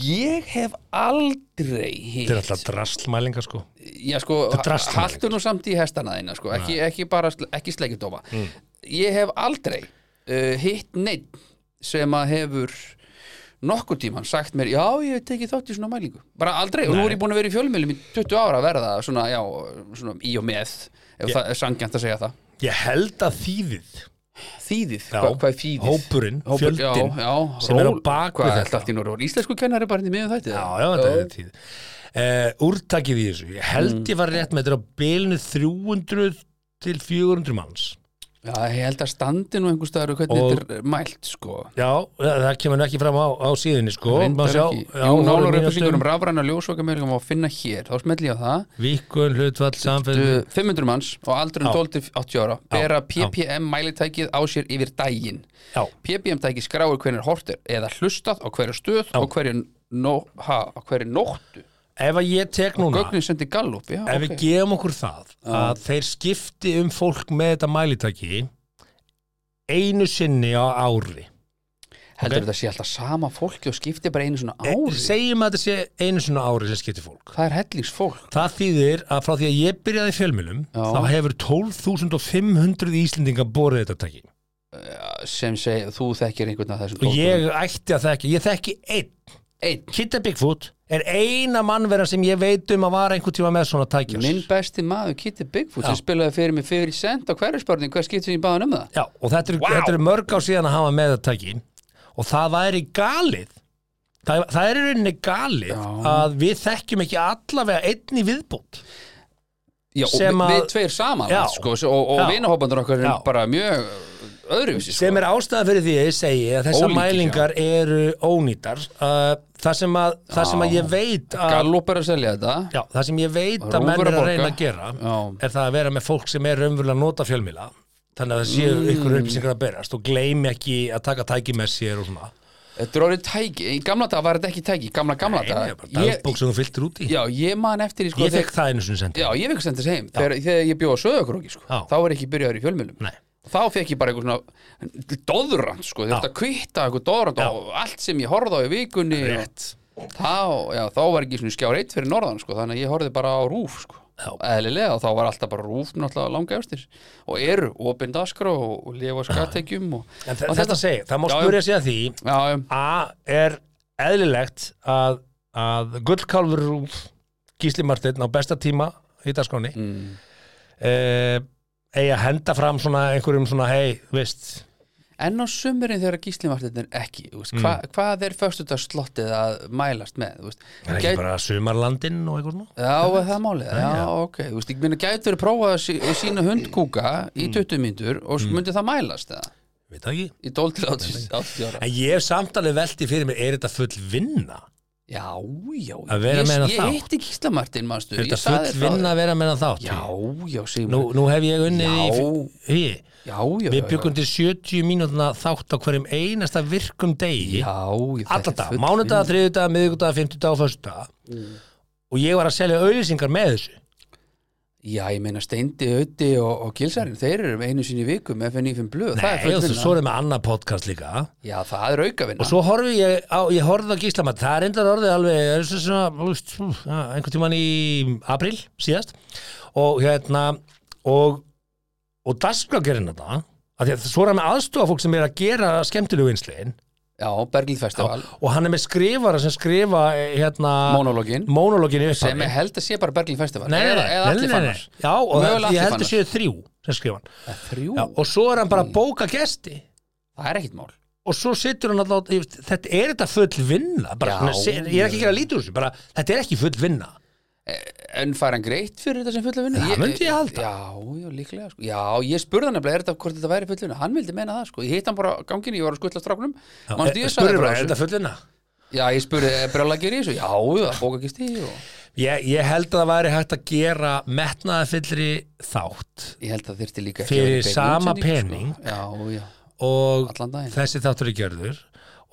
S2: Ég hef aldrei
S1: Mm. þetta er
S2: hitt
S1: alltaf drastlmælinga sko
S2: Já sko,
S1: er drasl-
S2: haltu nú samt í hestana þína sko, ekki, ekki bara sl- ekki sleggjudóma
S1: Mm.
S2: Ég hef aldrei uh, hitt neitt sem að hefur nokkur tíman sagt mér, já ég hef tekið þátt í svona mælingu bara aldrei, og nú er ég búin að vera í fjölmiðlum í 20 ára að verða svona, já, svona í og með ef það er sangjant að segja það
S1: ég held að þýðið
S2: Þýðið,
S1: Já.
S2: hvað, hvað er þýðið?
S1: Hópurinn,
S2: Hópur-
S1: fjöldinn
S2: já, já,
S1: sem er á
S2: ról-
S1: bak við
S2: hvað,
S1: þetta.
S2: allt í norður, Íslensku kennari bara henni miðum þætti
S1: já, já, þetta er tíð uh, úrtakið í þessu, ég
S2: Mm.
S1: held ég var rétt með þetta er á bilinu 300 til 400 manns
S2: já, ég held að standi nú einhvers staðar og hvernig
S1: Og-
S2: þetta er mælt sko
S1: Já, það kemur nú ekki fram á, á síðinni sko Má
S2: Reyndar
S1: sjá,
S2: ekki.
S1: já,
S2: Jú,
S1: á
S2: nálar
S1: mínútum,
S2: upplýsingur um rafræna ljósvokamælingum má finna hér, þá smell ég á það
S1: Víkun, hlutfall, samfell
S2: Du- 500 manns og
S1: Mm.
S2: aldurinn
S1: Já.
S2: 12 til 80 ára bera PPM mælitækið á sér yfir daginn
S1: Já,
S2: PPM tæki skráir hvernig hortir eða hlustað á hverju stöð og hverju, no, ha, á hverju nóttu
S1: ef að ég tek núna
S2: Gögnin sendi gallup, já,
S1: Ef við
S2: ok
S1: gefum okkur það að þeir skipti um fólk með þetta mælitaki einu sinni á ári
S2: Heldur þetta sé alltaf sama fólki og skipti bara einu svona
S1: E-
S2: ári
S1: Segjum að þetta sé einu sinni á ári sem skipti fólk
S2: Hvað er hellingsfólk?
S1: Það þýðir að frá því að ég byrjaði í fjölmjölum
S2: Já.
S1: þá hefur 12.500 Íslendinga borið þetta taki
S2: sem segir, þú þekkir einhvern af þessum
S1: og ég ætti að þekki, ég þekki einn
S2: Einn,
S1: Kitta Bigfoot er eina mannverðan sem ég veit um að vara einhvern tíma með svona tækjars.
S2: minn besti maður Kitty Bigfoot sem spilaði fyrir mig fyrir cent á hverju spörning hvað skiptum ég báðan um það?
S1: Já, og þetta eru wow. er mörg á síðan að hafa með það tæki og það væri galið. Það, það er í rauninni galið að við þekkjum ekki allavega einn í viðbútt.
S2: Já, og
S1: Sem
S2: við,
S1: að-
S2: við tveir saman
S1: Já.
S2: sko, og, og
S1: Já.
S2: vinahópandur okkar er
S1: Já.
S2: bara mjög öðruvísi sko.
S1: Sem er ástæðan fyrir því að ég segi að þessar
S2: Ólíkir,
S1: mælingar eru ónýtar. Uh, það, sem að, það sem að
S2: Já.
S1: ég veit að...
S2: Gallup er að selja þetta
S1: Já, það sem ég veit að
S2: Rúf
S1: menn
S2: er
S1: er
S2: að
S1: að
S2: borga.
S1: reyna að gera
S2: Já.
S1: er það að vera með fólk sem er raunverulega að nota fjölmila þannig að það séu ykkur upplýsingar að berast og gleym ekki að taka tæki með sér og svona
S2: Þetta er orðið tæki, í gamla dag var þetta ekki tæki gamla,
S1: Nei,
S2: gamla
S1: nei,
S2: dag
S1: bara dagbók sem þú fylltir út í
S2: Já, ég man eftir í, sko,
S1: Ég fekk það einu sinni sendi
S2: Já, ég fekk sendis heim þegar, þegar ég bjóð að söðakróki sko.
S1: Já.
S2: þá var ég ekki byrjaður í fjölmjölum
S1: Nei.
S2: þá fekk ég bara eitthvað svona doðrand sko, þetta kvitta eitthvað doðrand á allt sem ég horfði á í vikunni og, þá, já, þá var ekki svona skjár eitt fyrir norðan sko, þannig að ég horfði bara á rúf sko.
S1: Já.
S2: eðlilega og þá var alltaf bara rúf náttúrulega langa efstir og eru opinn daskra og, og lifa skattekjum og,
S1: En þe-
S2: og
S1: þetta segi, það má
S2: Já,
S1: spyrja sig að því
S2: já, já,
S1: A er eðlilegt að, að gullkálfur Rúf Gísli Marteinn á besta tíma Eh, í dagskráni mm. eigi að henda fram svona einhverjum svona hei, veist
S2: En á sumurinn þegar gíslimartin er ekki þú veist,
S1: Mm.
S2: hva, hvað er föstudagslottið að mælast með þú veist?
S1: Það er ekki
S2: Gæti-
S1: bara sumarlandinn og eitthvað svona
S2: Já, er það málið? Já, ok. Þú veist, ég minna, gætur prófað að sí, sína hundkúka í 20 mínútur og mm. myndi það mælast eða?
S1: Veit það ekki
S2: Í 12 til 80 80 ára.
S1: En ég hef samtalið velti fyrir mig, er þetta full vinna?
S2: Já, já.
S1: Að vera
S2: ég,
S1: með
S2: ég,
S1: hana þá?
S2: Ég hitti Gísla Martin, manstu.
S1: Er
S2: ég
S1: þetta
S2: sagði
S1: full
S2: frá
S1: vinna
S2: því.
S1: að vera með hann þátt?
S2: Já, já, Sigur.
S1: Nú, nú hef ég unnið
S2: Já.
S1: í því.
S2: já, já.
S1: Við
S2: já,
S1: byggum til 70 mínútna þátt á hverjum einasta virkum degi. Mm.
S2: Já, já.
S1: Alla dag, mánudag, þriðudag, miðugudag, fimmtudag og föstudag. Og ég var að selja auðlýsingar með þessu.
S2: Já, ég meina Steindi, Ötti og, og Gilsarinn, þeir eru einu sinni í viku með FNF blöð. það er
S1: Nei,
S2: full
S1: og
S2: vinna.
S1: svo erum við annað podcast líka.
S2: Já, það er aukavinna.
S1: Og svo horfi ég á, ég horfði á Gíslamat, það er endar orðið alveg, er svo svona, þú veist, ú, já, einhvern tímann í april síðast og hérna, og, og dagskrá gerin þetta, af því að svo er hann með aðstofa fólk sem er að gera skemmtilegu einslegin,
S2: já, Berglind Festival
S1: og hann er með skrifara sem skrifa eh, hérna,
S2: Monologinn.
S1: monólogin í
S2: sem
S1: upphafi.
S2: ég held að sé bara Berglind Festival
S1: Nei, nei,
S2: eða,
S1: nei,
S2: eða
S1: nei,
S2: allir
S1: nei, nei.
S2: fannar
S1: Já, og
S2: Mögulega
S1: það, ég
S2: allir
S1: held að
S2: fannar.
S1: séu þrjú sem skrifa hann
S2: Eh, þrjú,
S1: Já, og svo er hann bara að bóka gesti
S2: það er ekkit mál
S1: og svo situr hann alltaf ég veist, þetta er þetta full vinna bara,
S2: Já.
S1: svona, se- ég er ekki að gera lítið úr þessu bara, þetta er ekki full vinna
S2: en fær hann greitt fyrir þetta sem fulla vinnu
S1: Það myndi ég halda.
S2: já, já, líklega sko. já, ég spurði hann nefnilega, er þetta hvort þetta væri fulla vinnu hann vildi menna það, sko. ég hitt hann bara á ganginni, ég var að skuttla stráknum Manstu,
S1: eh,
S2: ég sagði
S1: spurði
S2: frá
S1: bara, er
S2: þessu?
S1: þetta full vinna?
S2: já, ég spurði, er brjóla að gera í þessu já, já, bóka ekki stíð og...
S1: Ég, ég held að það væri hægt að gera metnaðafyllri þátt
S2: ég held að þyrfti líka ekki
S1: Fyrir
S2: að vera í beinni
S1: sama
S2: útsendingu, sko. já, já,
S1: og
S2: Allan daginn.
S1: þessi þáttur er gerður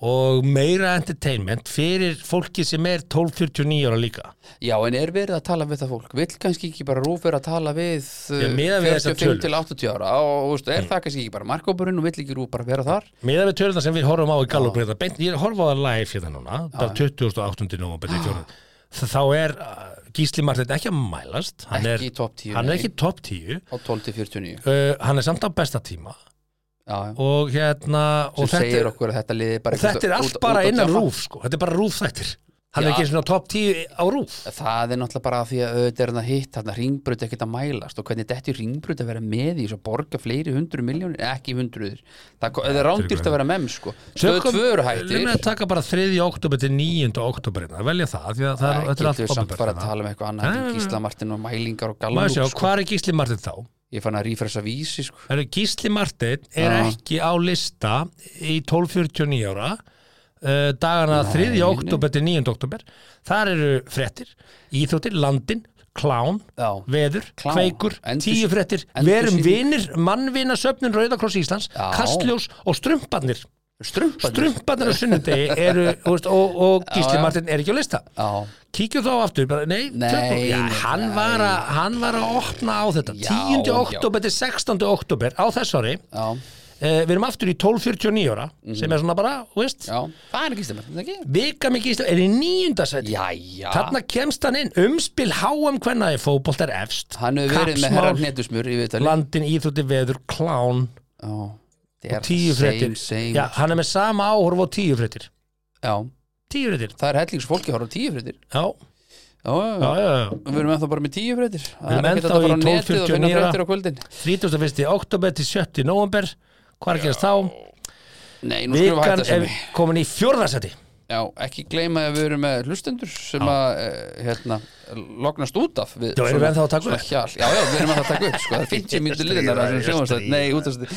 S1: og meira entertainment fyrir fólki sem er 12-49 ára líka
S2: Já, en er verið að tala við það fólk? Vill kannski ekki bara rúf vera að tala við uh,
S1: Já, miðað við þessar
S2: 45
S1: tölur.
S2: til 80 ára og þú veist, er það kannski ekki bara markópurinn og vill ekki rúf bara vera þar?
S1: Miðað við töluna sem við horfum á í Gallupbreyta beint, ég er að horfa á það live hérna núna bara 2008. november í fjórðum þá er uh, Gísli Martin ekki að mælast hann er,
S2: Ekki í topp 10,
S1: hann er
S2: nei.
S1: ekki topp 10 uh,
S2: Á 12 til 49 Já,
S1: Eh, hann er samt á besta tíma
S2: já,
S1: og hérna
S2: sem
S1: og þetta,
S2: segir
S1: er-
S2: okkur að þetta liði bara
S1: og þetta er allt bara innan rúf sko. þetta er bara rúf þættir hann er
S2: Já.
S1: ekki svona topp 10 á rúf
S2: Það er náttúrulega bara af því að auðvitað er hann að hitt þarna ringbrut ekkert að mælast og hvernig detti ringbrut að vera með í svo borga fleiri hundru miljónir, ekki hundruður Það ko- það er rándýrt að vera með sko Stöðu
S1: Tökum-
S2: tvöru
S1: Við
S2: hættir
S1: erum að taka bara 3. oktober til 9. oktober hérna, velja það, því að það er,
S2: Það
S1: þetta er allt
S2: getur Eh, við samt
S1: opinbert
S2: bara að
S1: hérna.
S2: tala um eitthvað annað
S1: Nei,
S2: en
S1: nei,
S2: Gísla Martin og mælingar og
S1: Maður sjá,
S2: gallup sko.
S1: hvað er Gísli Martin þá?
S2: Ég fann að rífresa vísi sko.
S1: Heru, Gísli Martin er
S2: Já.
S1: ekki á lista í 12.49 ára uh, dagana 3. oktober til 9. oktober þar eru frettir, íþróttir, landin klán,
S2: Já.
S1: veður,
S2: Klán.
S1: kveikur,
S2: Endursýn-
S1: tíu frettir verum
S2: endursýning.
S1: vinir, mannvina söfnin Rauðakross Íslands,
S2: Já.
S1: kastljós og strumpanir
S2: Strumpa
S1: strumpanir á sunnudegi eru þú veist, og, og Gísli
S2: já.
S1: Martin er ekki á lista
S2: Já,
S1: kíkjum þá aftur, bara, nei,
S2: Nei,
S1: tökum- já,
S2: nei,
S1: hann, Var að, hann var að opna á þetta 10.
S2: Já, já.
S1: oktober til 16. oktober á þess ári,
S2: já,
S1: eh, við erum aftur í 12.49 ára, sem er svona bara, þú veist
S2: Mhm. já Það er ekki stemmar, þetta ekki
S1: vika mikið íslam, er í nýjunda sæti
S2: Jæja
S1: þarna kemst hann inn, umspil HM hvenna í fótbolt er efst
S2: Hann hefur verið með herra hnetusmur í viðtali
S1: landin, íþrótti, veður, klán
S2: Já, það er
S1: tíu fréttir,
S2: same, same
S1: já, hann er með sama áhorf á tíu fréttir
S2: Já,
S1: tíu fréttir,
S2: það er hellings fólki horf á tíu fréttir
S1: já,
S2: Já, já,
S1: já,
S2: já
S1: já, já.
S2: Við erum ennþá bara með tíu fréttir Það
S1: erum ennþá
S2: er ekki hægt að fara
S1: í
S2: á netið og finna
S1: 12.49.
S2: fréttir á kvöldin
S1: 31. oktober til 7. november hvað er að gerast þá?
S2: Nei, nú skulum við
S1: Vikan
S2: hætta
S1: er
S2: sem
S1: komin í fjórðarsæti
S2: Já, ekki gleyma að við erum með hlustendur sem að, eh, hérna, lognast út af við,
S1: Já, erum við ennþá að taka upp?
S2: hjal, Já, já, við erum ennþá að taka upp, sko, það er 50 mínútur liðinar að sjónvastætt, nei, útastætt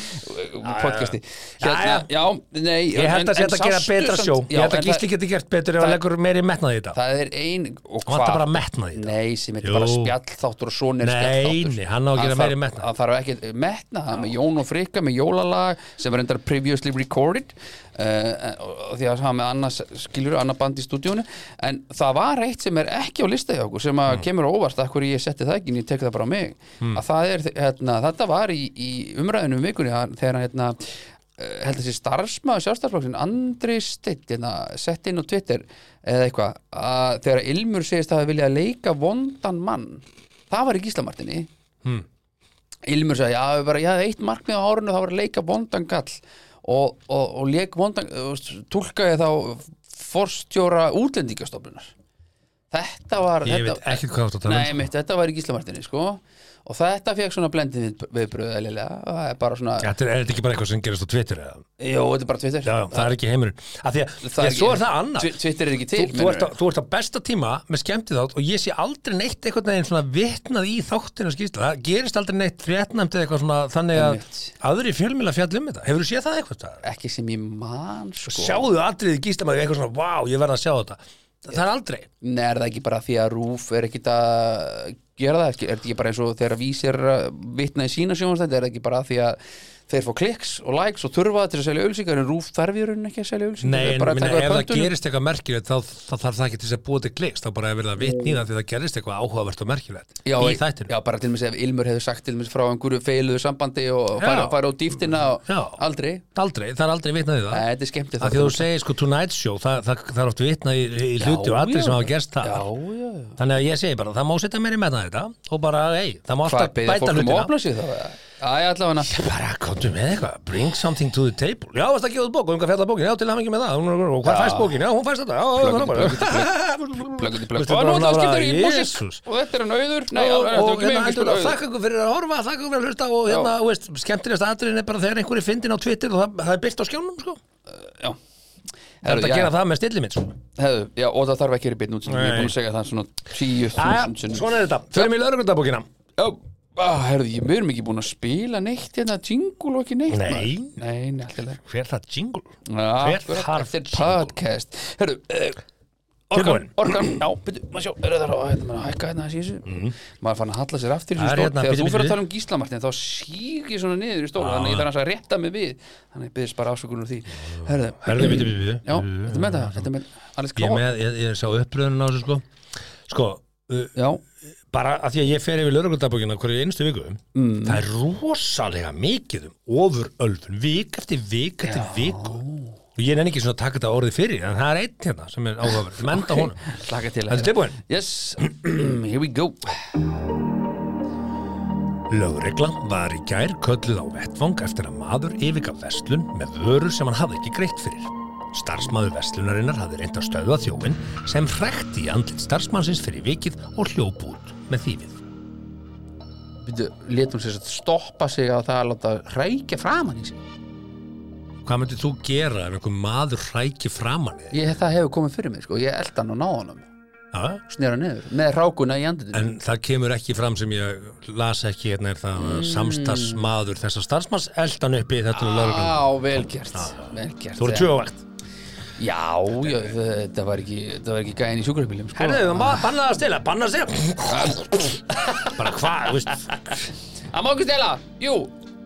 S2: podcasti, hérna, já, nei
S1: Ég held að þetta gera betra sjó Ég held að Gísli
S2: það,
S1: geti gert betur ef hann
S2: það-
S1: leggur meiri metnaði í þetta
S2: það er ein, og
S1: Hann vantar bara
S2: hvað
S1: metnaði í þetta
S2: Nei, sem heitir
S1: Jú.
S2: bara spjallþáttur og svona er
S1: Nei,
S2: spjallþáttur
S1: nei, hann á að gera
S2: þarf-
S1: meiri metnað.
S2: Hann þarf ekki metna, hann er með Jón og Frikka með jólalag sem er endar previously recorded uh, því að hann með annars skilur annar band í stúdíónu en það var eitt sem er ekki á lista hjá okkur sem að kemur á óvart að hverju ég setti það ekki en ég tek það bara á mig að það er, hérna, þetta var í, í umræðinu um vikunni að- þegar hann hérna, eh, held að þessi starfsmaður sjálfstæðsflokksin Andri Stitt hérna, sett inn á Twitter eða eitthvað að þegar Ilmur segist að vilja leika vondan mann það var í Gíslamartinni
S1: Hmm.
S2: Ilmur sagði, já, ég bara, ég hafði eitt markmið á árinu það var að leika vondan kall og, og, og leik vondan tólkaði þá forstjóra útlendingastofnunar þetta var
S1: Ég
S2: þetta,
S1: veit ekkert hvað þú ert að tala
S2: Nei,
S1: um
S2: mitt, þetta var í Gíslamartinni, sko og þetta fekk svona blendin við, viðbröð eðlilega, það er bara svona
S1: Þetta er, er þetta ekki bara eitthvað sem gerist á Twitter eða?
S2: Jó, þetta er bara Twitter
S1: Já, það er ekki heimurinn Af því að,
S2: Það
S1: því
S2: er
S1: að svo
S2: ekki-
S1: er það annað
S2: Twi- Twitter er ekki til
S1: Þú, þú,
S2: meinarðu?
S1: ert á, þú ert á besta tíma með skemmtið þátt og ég sé aldrei neitt eitthvað neginn svona vitnað í þáttinu skýrslu það gerist aldrei neitt fréttnæmt eða eitthvað svona þannig að
S2: Einmitt.
S1: aðri fjölmila fjall um þetta hefur þú séð það eitthvað staðar?
S2: ekki sem ég man sko.
S1: sjáðu atriðið gíslamæður eitthvað svona, vá, ég verð að sjá þetta það er aldrei
S2: Nei, er það ekki bara því að rúf er ekkit að gera það, er þetta ekki bara eins og þegar vísir eh, vitna í sína sjónastætti er það ekki bara því að þeir fá kliks og likes og þurfa til að selja ölsingar en rúf þarf í raunin ekki að selja ölsingar
S1: Nei, en minna, ef það gerist eitthvað merkilegt þá, þá þarf það ekki til þess að búa til kliks þá bara er verið að vitna í það því það gerist eitthvað áhugavert og merkilegt
S2: já,
S1: í þættinu
S2: já, bara til mér ef Ilmur hefur sagt til mér frá einhverju feiluðu sambandi og
S1: Já.
S2: fara, fara á dýftina og
S1: Já.
S2: aldrei,
S1: Aldrei, það er aldrei vitnað í
S2: Nei,
S1: það
S2: þetta er skemmti
S1: Af því að þú segir sko Tonight Show það, það, það er oft vitnað í, í hluti og atrið sem hafa gerst það
S2: Já, já, já
S1: Þannig að ég segi bara, það má setja meiri metna þetta og bara, ei, það má
S2: Hvað
S1: alltaf
S2: beðið
S1: bæta
S2: fólk um að
S1: hlutina
S2: opna sig þá? eða? Æ, allavega
S1: Ég bara, komdu með eitthvað, bring something to the table Já, varst að gefa út bók, og um hvað fjalla bókin, já, til hann ekki með það Hún- Og hvað
S2: Já.
S1: fæst bókin, já, hún fæst þetta Já, já, já,
S2: Plug it, plug it, plug it. Og nú ætlaðu að skipta þér í músík.
S1: Jesus.
S2: Og þetta er hann auður Nei,
S1: Og,
S2: þetta er
S1: og
S2: ekki
S1: hérna
S2: með
S1: heldur það,
S2: auður
S1: þakka ykkur fyrir að horfa, þakka ykkur fyrir að hlusta og hérna, þú veist, skemmtilegast aðriðin er bara þegar einhverju fyndin á Twitter og það, það er byrst á skjánum, sko
S2: Já
S1: Það er
S2: Herðu,
S1: að
S2: já,
S1: gera það með stillið mitt, sko
S2: Hefðu, já, og það þarf ekki að gera í byrn útsendingu, ég er
S1: Nei.
S2: búin að segja það svona
S1: Jæja,
S2: 10.000 sinnum.
S1: svona er þetta, fyrir mig lögregundabókina
S2: Já, ah, herðu, ég verðum ekki búin að spila neitt hérna, jingle og ekki neitt
S1: Nei.
S2: maður. Nei, nei, alltaf leið
S1: Hver er það jingle? Hver þarf
S2: Ah, Þetta er podcast Herðu, uh, orkan,
S1: Tilbúin.
S2: orkan Já, byrju, maður sjá, er það á hérna, maður að hækka hérna þessi í þessu Maður er fann að halla sér aftur í
S1: Mhm. Það er
S2: þessu stól
S1: hérna,
S2: Þegar
S1: bíddu, bíddu.
S2: þú fyrir
S1: Ah.
S2: að tala um gíslamartin þá síg ég svona niður í stóla Þannig ég þarf að rétta mig við Þannig ég byrðist bara afsökunum því Herðu,
S1: Herðu, bíddu, bíddu, bíddu.
S2: Já, þetta með það, þetta með sko- Alice
S1: Ég, er
S2: Klóa
S1: með, ég, ég sá uppröðunum á þessu, sko Sko, uh,
S2: Já,
S1: bara að því að ég fer yfir lögregundabókina hverju einustu viku það er rosalega mikið um ofurölfun, vik eftir vik eftir viku og ég nenni ekki svona að taka þetta orðið fyrir en það er einn hérna sem er áhugaverð sem enda honum
S2: slaka til
S1: Þetta er tilbúin.
S2: Yes, Mm, here we go
S1: Lögregla var í gær kölluð á vettvang eftir að maður yfirgaf vestlun með vörur sem hann hafði ekki greitt fyrir. Starfsmaður vestlunarinnar hafði reynd að stöðva þjófin sem hrekti í andlit starfsmannsins fyrir vikið og hljóp út með þýfið.
S2: Við letum sér að stoppa sig að það að láta rækja framan í sig
S1: Hvað myndir þú gera ef einhver maður hræki framan þig?
S2: ég, það hefur komið fyrir mig sko, ég elda hann og náða hann
S1: Ja.
S2: snera niður, með rákuna í andinu
S1: En það kemur ekki fram sem ég las ekki hérna er það mm. Ah, samstagsmaður þessar starfsmanns eldan uppi þetta er lögreglum.
S2: á, vel gert, vel gert
S1: Ah. Þú eru
S2: já,
S1: tjóðvægt.
S2: já, þetta var ekki þetta var ekki gæðin í sjúkrabílum sko.
S1: Herðu, það var bannað að stila, bannað að stila. Bara hvað, þú veist,
S2: það má ekki stela, Ah. jú,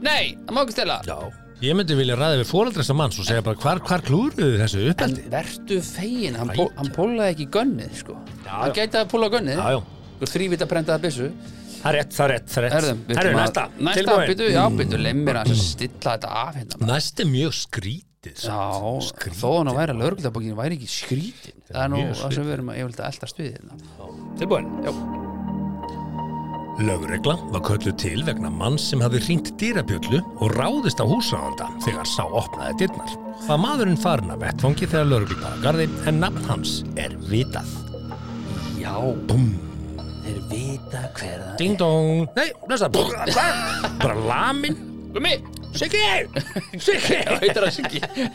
S2: nei það má ekki stela
S1: Já, ég myndi vilja ræða við fóraldresta manns og segja bara hvar, hvar klúruðu þessu
S2: en
S1: uppeldi?
S2: vertu fegin, hann, pól, hann pólaði ekki gönnið sko, hann gæti að póla gönnið
S1: Já, já.
S2: og þrývita prentaða byssu
S1: Það er rétt, það er rétt, það er rétt.
S2: Herðum,
S1: Herðu, næsta,
S2: næsta
S1: tilbúin. Mm.
S2: byrju, já, byrju, lemmir að stilla þetta af hérna
S1: Næst er mjög skrítið. samt.
S2: Já,
S1: Skrýtið.
S2: þó hann að væri að lögreglabókin væri ekki skrítin Það er nú
S1: mjög
S2: það sem við erum að yfirleitt að eldast við hérna
S1: Tilbúin.
S2: Já.
S1: Lögregla var kölluð til vegna mann sem hafði hringt dýrabjöllu og ráðist á húsráðanda þegar sá opnaði dyrnar. Var maðurinn farin af vettfangi þegar lögreglu bara garði en nafn hans er vitað.
S2: Já, þeir vita hver það
S1: Ding dong. Nei, næsta. Bara lamin.
S2: Gumi,
S1: Siggi! Siggi!
S2: heitir það sig ekki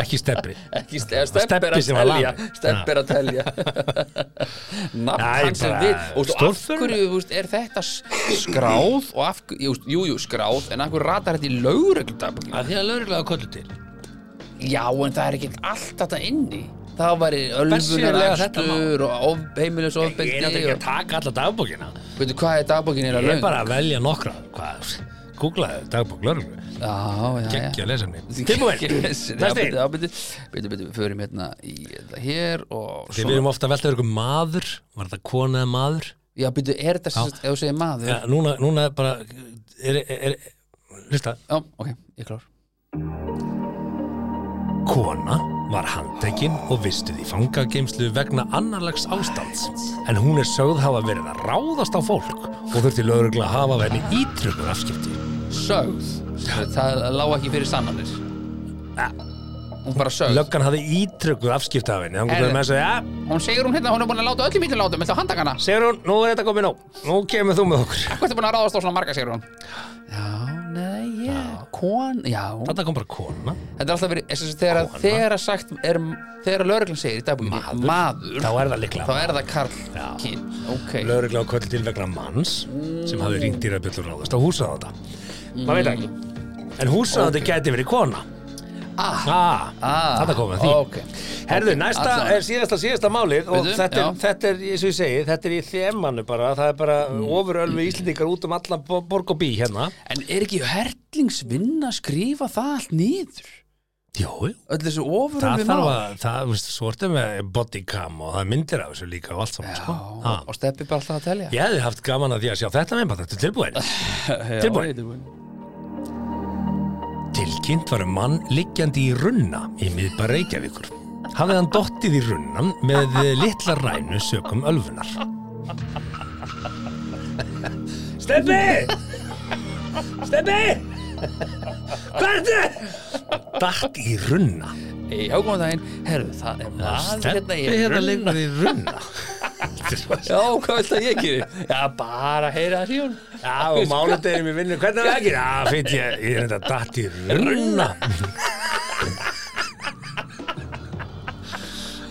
S1: Ekki stefni.
S2: Ekki ste- Stepp
S1: Stebbi
S2: er að
S1: sem var
S2: telja
S1: lamið.
S2: Stepp er að telja Nafn
S1: Nei,
S2: hans er
S1: bara
S2: við Og veistu, af
S1: stórfurða.
S2: hverju þú veist, er þetta s- skráð og af, hverju- jú, veist, jú, jú, skráð en af hverju ratar þetta í lögreglabókin
S1: Að því að lögreglega kölluð til.
S2: Já, en það er ekki allt þetta inni Það væri
S1: Bersýnilega þetta
S2: ölfunarækstur og of, heimilis
S1: Ég er
S2: ofbeldi
S1: náttúrulega ekki
S2: og
S1: að taka alla dagbókina
S2: Veitu hvað er dagbókin er
S1: Ég
S2: að
S1: er
S2: laun?
S1: bara að velja nokkra Hvað? Googlaðu dagbók lörglu
S2: Já, já, já
S1: Gekkja lesemni Tilbúin Næsti
S2: Næsti Já, byrju, byrju, byrju, við förum hérna í þetta hér og
S1: Þið erum ofta að velta ykkur maður Var þetta kona eða maður?
S2: Já, byrju, er þetta sérst, ef þú segir maður
S1: Ja,
S2: Já,
S1: núna, núna er bara er, er, er, Lista
S2: ok, ég er klár
S1: Kona var handtekinn og vistuð í fangageimslu vegna annarlegs ástands en hún er sögð hafa verið að ráðast á fólk og þurfti lögregla að hafa verið ítryggur afskipti
S2: Sögð Sérst, Það lág ekki fyrir sannanir Hún bara sögð
S1: Löggan hafi ítryggur afskipti af henni hann
S2: Herðu.
S1: komið með að segja, ja,
S2: Hún segir hún hérna, hún er búin að láta öllum ítlum látum Þetta handakana
S1: Sigrún, nú er þetta komið nóg Nú kemur þú með okkur
S2: Hvað er búin að ráðast á svona marga, segir hún Já, nei, já, kon, já
S1: Þetta kom bara kona
S2: Þetta er alltaf verið, þess að þegar, þegar að sagt er, þegar lögreglan segir í dagbúkinni maður,
S1: Þá er það líklega
S2: þá er það karl kyn, ok
S1: Lögregla á kvöldi til vegna manns sem hafi ringt dýrabjöllur ráðast á húsaðanda
S2: Mm.
S1: Það veit ekki En húsaðandi gæti verið kona Ah, ah Þetta komið að því
S2: ok.
S1: Herðu,
S2: Ok,
S1: næsta
S2: allavega.
S1: er síðasta, síðasta málið og
S2: Veitu,
S1: þetta er,
S2: já.
S1: þetta er, eins og ég segi, þetta er í þemanu bara það er bara
S2: Mm.
S1: ofurölvi íslendingar út um allan bo- borg og bí hérna
S2: en er ekki hertlingsvinna að skrifa það allt nýður
S1: Jú,
S2: öll þessu ofurum
S1: það
S2: við
S1: þarf
S2: mál
S1: að, það, þú veist, svo ertu með bodycam og það er myndir af þessu líka og allt saman, sko.
S2: Já,
S1: Ha.
S2: og steppi bara alltaf að telja
S1: Ég hefði haft gaman að því að sjá þetta með bara, þetta er tilbúin.
S2: Já,
S1: tilbúin.
S2: ég er tilbúin.
S1: Tilkynnt var um mann liggjandi í runna í miðbar Reykjavíkur. Hafði hann dottið í runnan með litla rænu sökum ölfunar. Steppi! Steppi! Berðu! Datt í runna.
S2: Ei, já, góðan daginn, herðu, það er maður hérna í
S1: Steppi hérna
S2: runna.
S1: leikur í runna. Þetta er svo-
S2: Já, hvað vilt að ég gerir? Já, bara heyra það síðan
S1: Já, og mánudeginum í vinnu, hvernig er það ekki? Já, fyrir ég, ég er þetta datt í runna.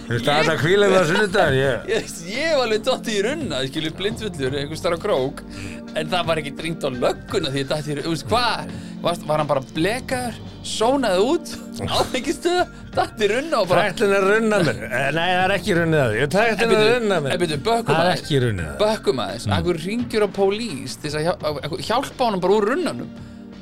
S1: Þú veist að þetta kvíla við að sunnudagin, ég...
S2: Ég, ég var alveg dott í runna, ég skilur blindfullur, einhvers þar á krók En það var ekki dringt á lögguna því ég dætti í runna, þú veist hvað? Varst, var hann bara blekaður, sónaði út, áfengistuða, dætti í runna og bara
S1: Tættin er runna mér. Eh, Nei, það er ekki runnið að því. Tættin er runna mér.
S2: En byrju, bökkum
S1: Það er
S2: aðeins.
S1: ekki runnið að því.
S2: Bökkum aðeins, mm. akkur ringjur á pólís til þess að hjá- að- að hjálpa honum bara úr runnanum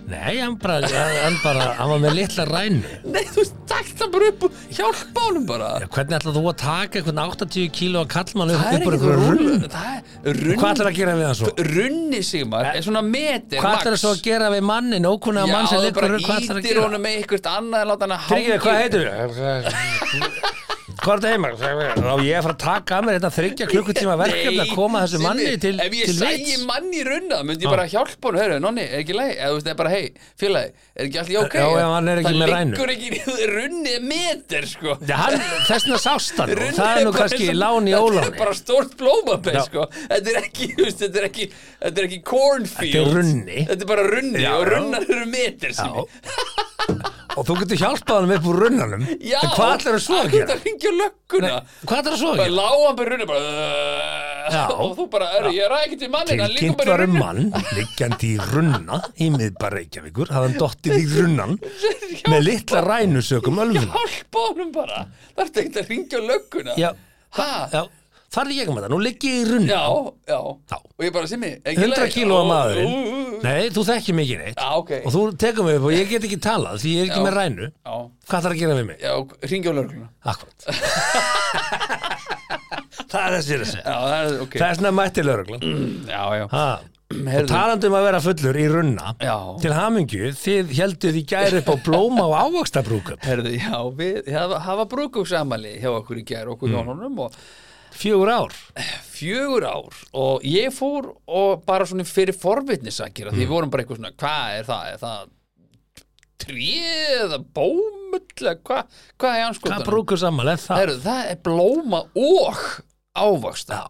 S1: Nei, hann bara, hann bara, hann var með litla rænu.
S2: Nei, þú veist, takt hann bara upp og hjálpa honum bara
S1: Já, Hvernig ætlaðu þú að taka einhvern 80 kíló að kallmann upp
S2: Það
S1: upp
S2: er
S1: úr
S2: ekki
S1: einhverju
S2: rúll
S1: runn?
S2: Það er runn
S1: Hvað ætlar að gera við hann svo?
S2: Runni Sigmar er svona metir
S1: Hvað ætlar svo að gera við mannin, ókunna mann sem liggur runn? Hvað
S2: Já,
S1: ætlar að
S2: það bara ítir
S1: gera?
S2: honum með ykkurt annað en láta hann að
S1: Tryggir, hvað heitir þú? Hvað er þetta heima? Þá ég er að fara að taka að mér þetta þryggja klukkutíma verkefni að koma þessu manni til,
S2: Ef ég
S1: til
S2: sægi
S1: vits.
S2: manni runna, myndi ég bara hjálpa honum Hörru, nonni, er ekki leið? Eða þú veist, eða bara, hei, félagi, er ekki allt í ok?
S1: Já, já, hann er ekki með rænu.
S2: Það liggur ekki, runni er metir, sko
S1: Já, hann- Þess vegna sást hann og
S2: Runni
S1: það er nú
S2: bara
S1: kannski
S2: eins og-
S1: lán í
S2: Þetta er
S1: óláni.
S2: bara stórt blómabeð
S1: Já.
S2: sko. Þetta er ekki, þú veist, þetta er ekki Þetta er ekki cornfield
S1: Þetta er runni.
S2: Þetta er bara runni
S1: Já,
S2: og
S1: já.
S2: runnar eru metir sinni
S1: Og þú getur hjálpað hann upp úr runnanum.
S2: Já,
S1: En hvað ætlar svo að
S2: akkur þetta
S1: gera?
S2: hringja á lögguna
S1: Hvað ætlar svo að
S2: Bara
S1: gera?
S2: lágan bara runni bara, uh,
S1: Já.
S2: Og þú bara, er, ég ræði ekki til mannin hann liggur
S1: Tilkynnt
S2: bara
S1: var
S2: í
S1: um
S2: runnu.
S1: mann, liggjandi í runna í miðbar Reykjavíkur, hafði hann dottið í runnan með litla rænusökum ölfuna.
S2: Hjálpa honum bara Það er ekki að ringja á lögguna
S1: Já,
S2: Ha?
S1: já, þar er ég um þetta, nú ligg ég í runna.
S2: Já, já Og ég bara, Simmi, ekki
S1: 100
S2: leið?
S1: kíló að
S2: Ó, ú,
S1: maðurinn,
S2: ú, ú.
S1: nei, þú þekkir mikið neitt
S2: Já, ok.
S1: og þú tekur mig upp og ég get ekki talað því ég er ekki
S2: Já.
S1: með rænu.
S2: Já,
S1: Hvað þarf að gera við mig?
S2: já, ringja á lögguna
S1: Akkurat. það er þessi þessi.
S2: Já, það er, ok
S1: Það er svona mætti lauruglan.
S2: Já, já
S1: Ha. Og
S2: Heyrðu.
S1: talandi um að vera fullur í runna
S2: Já.
S1: til hamingju, þið helduð í gæri upp á blóma og ávaxtabrúkup.
S2: Herðu, já, við hafa, hafa brúkúsamali hjá okkur í gær
S1: Mm.
S2: okkur hjónunum og
S1: Fjögur ár.
S2: fjögur ár og ég fór og bara svona fyrir forvitnisakir mm. því við vorum bara eitthvað svona, hvað er það? Er það tríð eða bómull eða hvað hva er anskotan?
S1: Hvað brúkup saman er það?
S2: Herðu, það er blóma og ávaxta.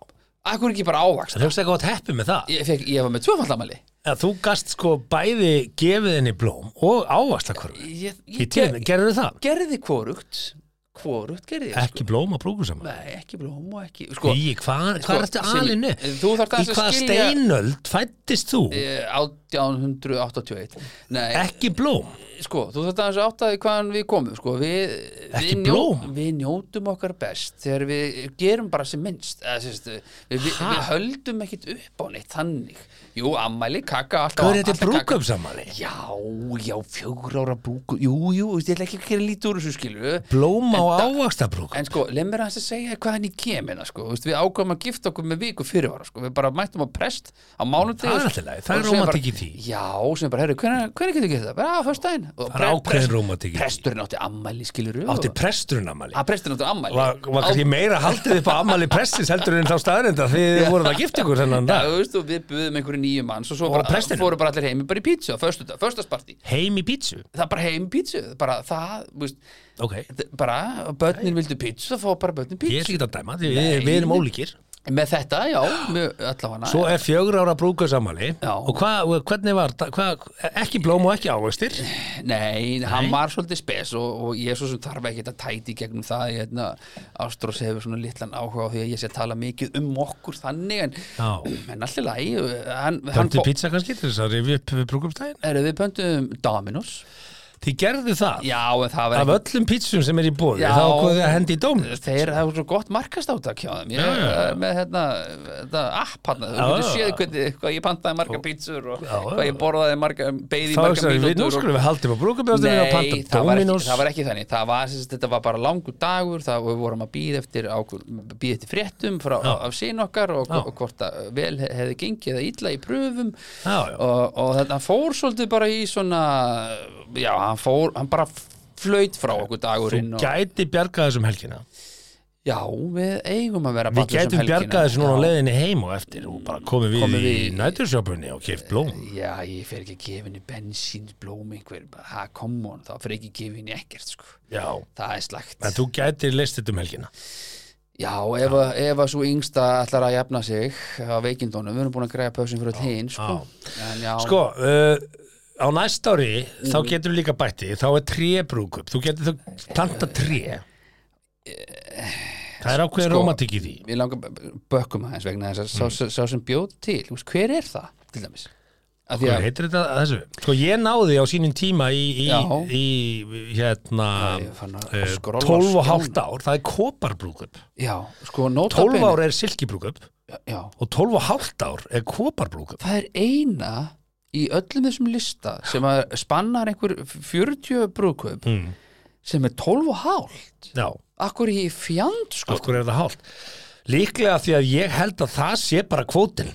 S2: Akkur ekki bara ávaxta?
S1: Það er ekki gott heppi með það.
S2: Ég, fekk, ég var með tvöfallamali.
S1: Að þú gast sko bæði gefið henni blóm og ávaxtakörfi.
S2: Ég, ég,
S1: Í tíðinni, gerðu það?
S2: gerði korugt, korugt gerði ég.
S1: Ekki blóm og brúkup saman.
S2: Nei, ekki blóm og ekki, sko.
S1: Í hvað,
S2: Sko,
S1: hvað ertu
S2: Silli,
S1: alinu?
S2: þú þarft
S1: Í
S2: aðeins að
S1: hvað
S2: skilja-
S1: steinöld fættist þú?
S2: Eh, 1881 Nei,
S1: Ekki blóm.
S2: sko, þú þetta aðeins áttaði hvaðan við komum sko, við,
S1: Ekki
S2: við,
S1: blóm?
S2: við njótum okkar best þegar við gerum bara sem minnst eða, sérst, við, við,
S1: Ha?
S2: við höldum ekkit upp á neitt þannig jú, ammæli, kaka, alltaf
S1: Hvað er þetta
S2: alltaf kaka.
S1: brúkupsamali?
S2: Já, já, fjögur ára brúku Jú, jú, veist, ég ætla ekki að gera lítið úr þessu skilu
S1: Blóma og
S2: En
S1: ávaxtabrúkup?
S2: En sko, leið mér aðeins að segja hvaðan ég kem hérna sko. Þú veist, Við ákvæmum að gifta okkur með viku fyrirvara sko. Við bara mættum á prest á mánudegi
S1: Það er allt í lagi, það er rómantík í því.
S2: Já, sem bara, herri, hvernig, hvernig getur gert það? Bara á föstudaginn Og
S1: Það er
S2: pre-
S1: ákveðin
S2: prest-
S1: rómantík í því.
S2: Presturinn átti ammæli, skilur við
S1: átti presturinn ammali
S2: Að Ah, presturinn átti ammæli
S1: var, var kannski meira haldið upp á ammali prestins heldur en þá staðarinda því þið voruð að gifta ykkur þennan
S2: Já,
S1: dag
S2: þú veist, og við buðum einhverju nýju manns og svo
S1: Og
S2: bara,
S1: prestinum?
S2: fóru bara allir heimi bara í pítsu á föstudag, föstasparti
S1: heim í pítsu
S2: það er bara heim í pítsu, bara það, þú veist
S1: ok, ég
S2: þetta- bara, börnin vildu pítsu þá fá bara börnin
S1: er
S2: pítsu
S1: ekki að dæma því við, við erum ólíkir
S2: með þetta, já, með allafana
S1: svo er fjögur ára brúkusamali
S2: Já.
S1: og hva, og hvernig var það- hva, ekki blóm og ekki ávextir
S2: Nei, hann var svolítið spes og, og ég er svo sem þarf ekki að tæti í gegnum það ég hefna, Ástrós hefur svona litlan áhuga á því að ég sé að tala mikið um okkur þannig en,
S1: Já.
S2: en allir lægi hann, hann
S1: Pöntu pizza kannski til þess að rifja upp brúkumstæðin
S2: er, Við pöntum Dominos
S1: Þið gerðu það
S2: Já, en það var
S1: af
S2: ekki
S1: öllum pizzum sem er í bóði
S2: Já.
S1: þá ákveðu þið að hendi í dóminu
S2: Þeir hafa svo gott markast átak hjá þeim ég,
S1: Já, já, já.
S2: er með hérna, þetta app hann þú
S1: Já,
S2: getur
S1: já.
S2: séð hvernig, hvað ég pantaði marga pítsur og
S1: Já, já.
S2: hvað ég borðaði marga beigði
S1: þá
S2: marga
S1: er það við nú
S2: mínútur og-
S1: skulum við haldið upp á brúkumstæðin og
S2: Nei,
S1: panta
S2: það var, ekki,
S1: dóminus
S2: það var ekki þannig það var, sérst, þetta var bara langur dagur það og við vorum að býða eftir, býð eftir fréttum frá, af sín okkar og,
S1: Já.
S2: og hvort að vel he- hefði gengið eða illa í pröfum
S1: Já, já.
S2: og, og þetta hann fór svolítið bara í svona já, hann fór, hann bara flaut frá okkur dagurinn og,
S1: gæti bjargað þessum helgina
S2: Já, við eigum að vera
S1: Við
S2: barnlaus um
S1: gætum
S2: helgina.
S1: bjargað þessu núna á
S2: Já.
S1: leiðinni heim og eftir og bara komum við
S2: Komum
S1: í
S2: við í-
S1: nætursjópunni og keift blóm
S2: Já, ég fer ekki að gefa henni bensín, blóm einhver, bara, ha, come on, þá fer ég ekki að gefa henni ekkert, sko.
S1: Já,
S2: Það er slagt.
S1: en þú gætir leist þetta um helgina
S2: Já, ef, að- ef að svo yngsta ætlar að jafna sig á veikindunum, við erum búin að greiða pössin fyrir all hinn, sko. En já,
S1: Sko, uh, á næsta ári þá
S2: Mm.
S1: getum við líka bætti, þá er trébrúkup þú getur þú planta tré Það er ákveðið
S2: Eh, Sko.
S1: romantik í því
S2: ég langar b- bökkum aðeins vegna þess að
S1: Mm.
S2: sá, sá, sá sem bjóð til, þú veist, hver er það, til dæmis? Af því
S1: Hvað
S2: að,
S1: heitir þetta að þessu? Sko, ég náði á sínum tíma í, í,
S2: Já.
S1: í hérna
S2: ég fann að
S1: eh,
S2: skrolla
S1: 12 og hálft
S2: skjána.
S1: ár, það er koparbrúkup
S2: já, sko, nota
S1: 12
S2: bene-
S1: ár er silkibrúkup
S2: já,
S1: og 12 og hálft ár er koparbrúkup
S2: það er eina í öllum þessum lista sem að spannar einhver 40 brúðkaup
S1: Mm.
S2: sem er 12 og hálft
S1: Já,
S2: akkur í fjand sko
S1: af hverju er það hálft? Líklega því að ég held að það sé bara kvótin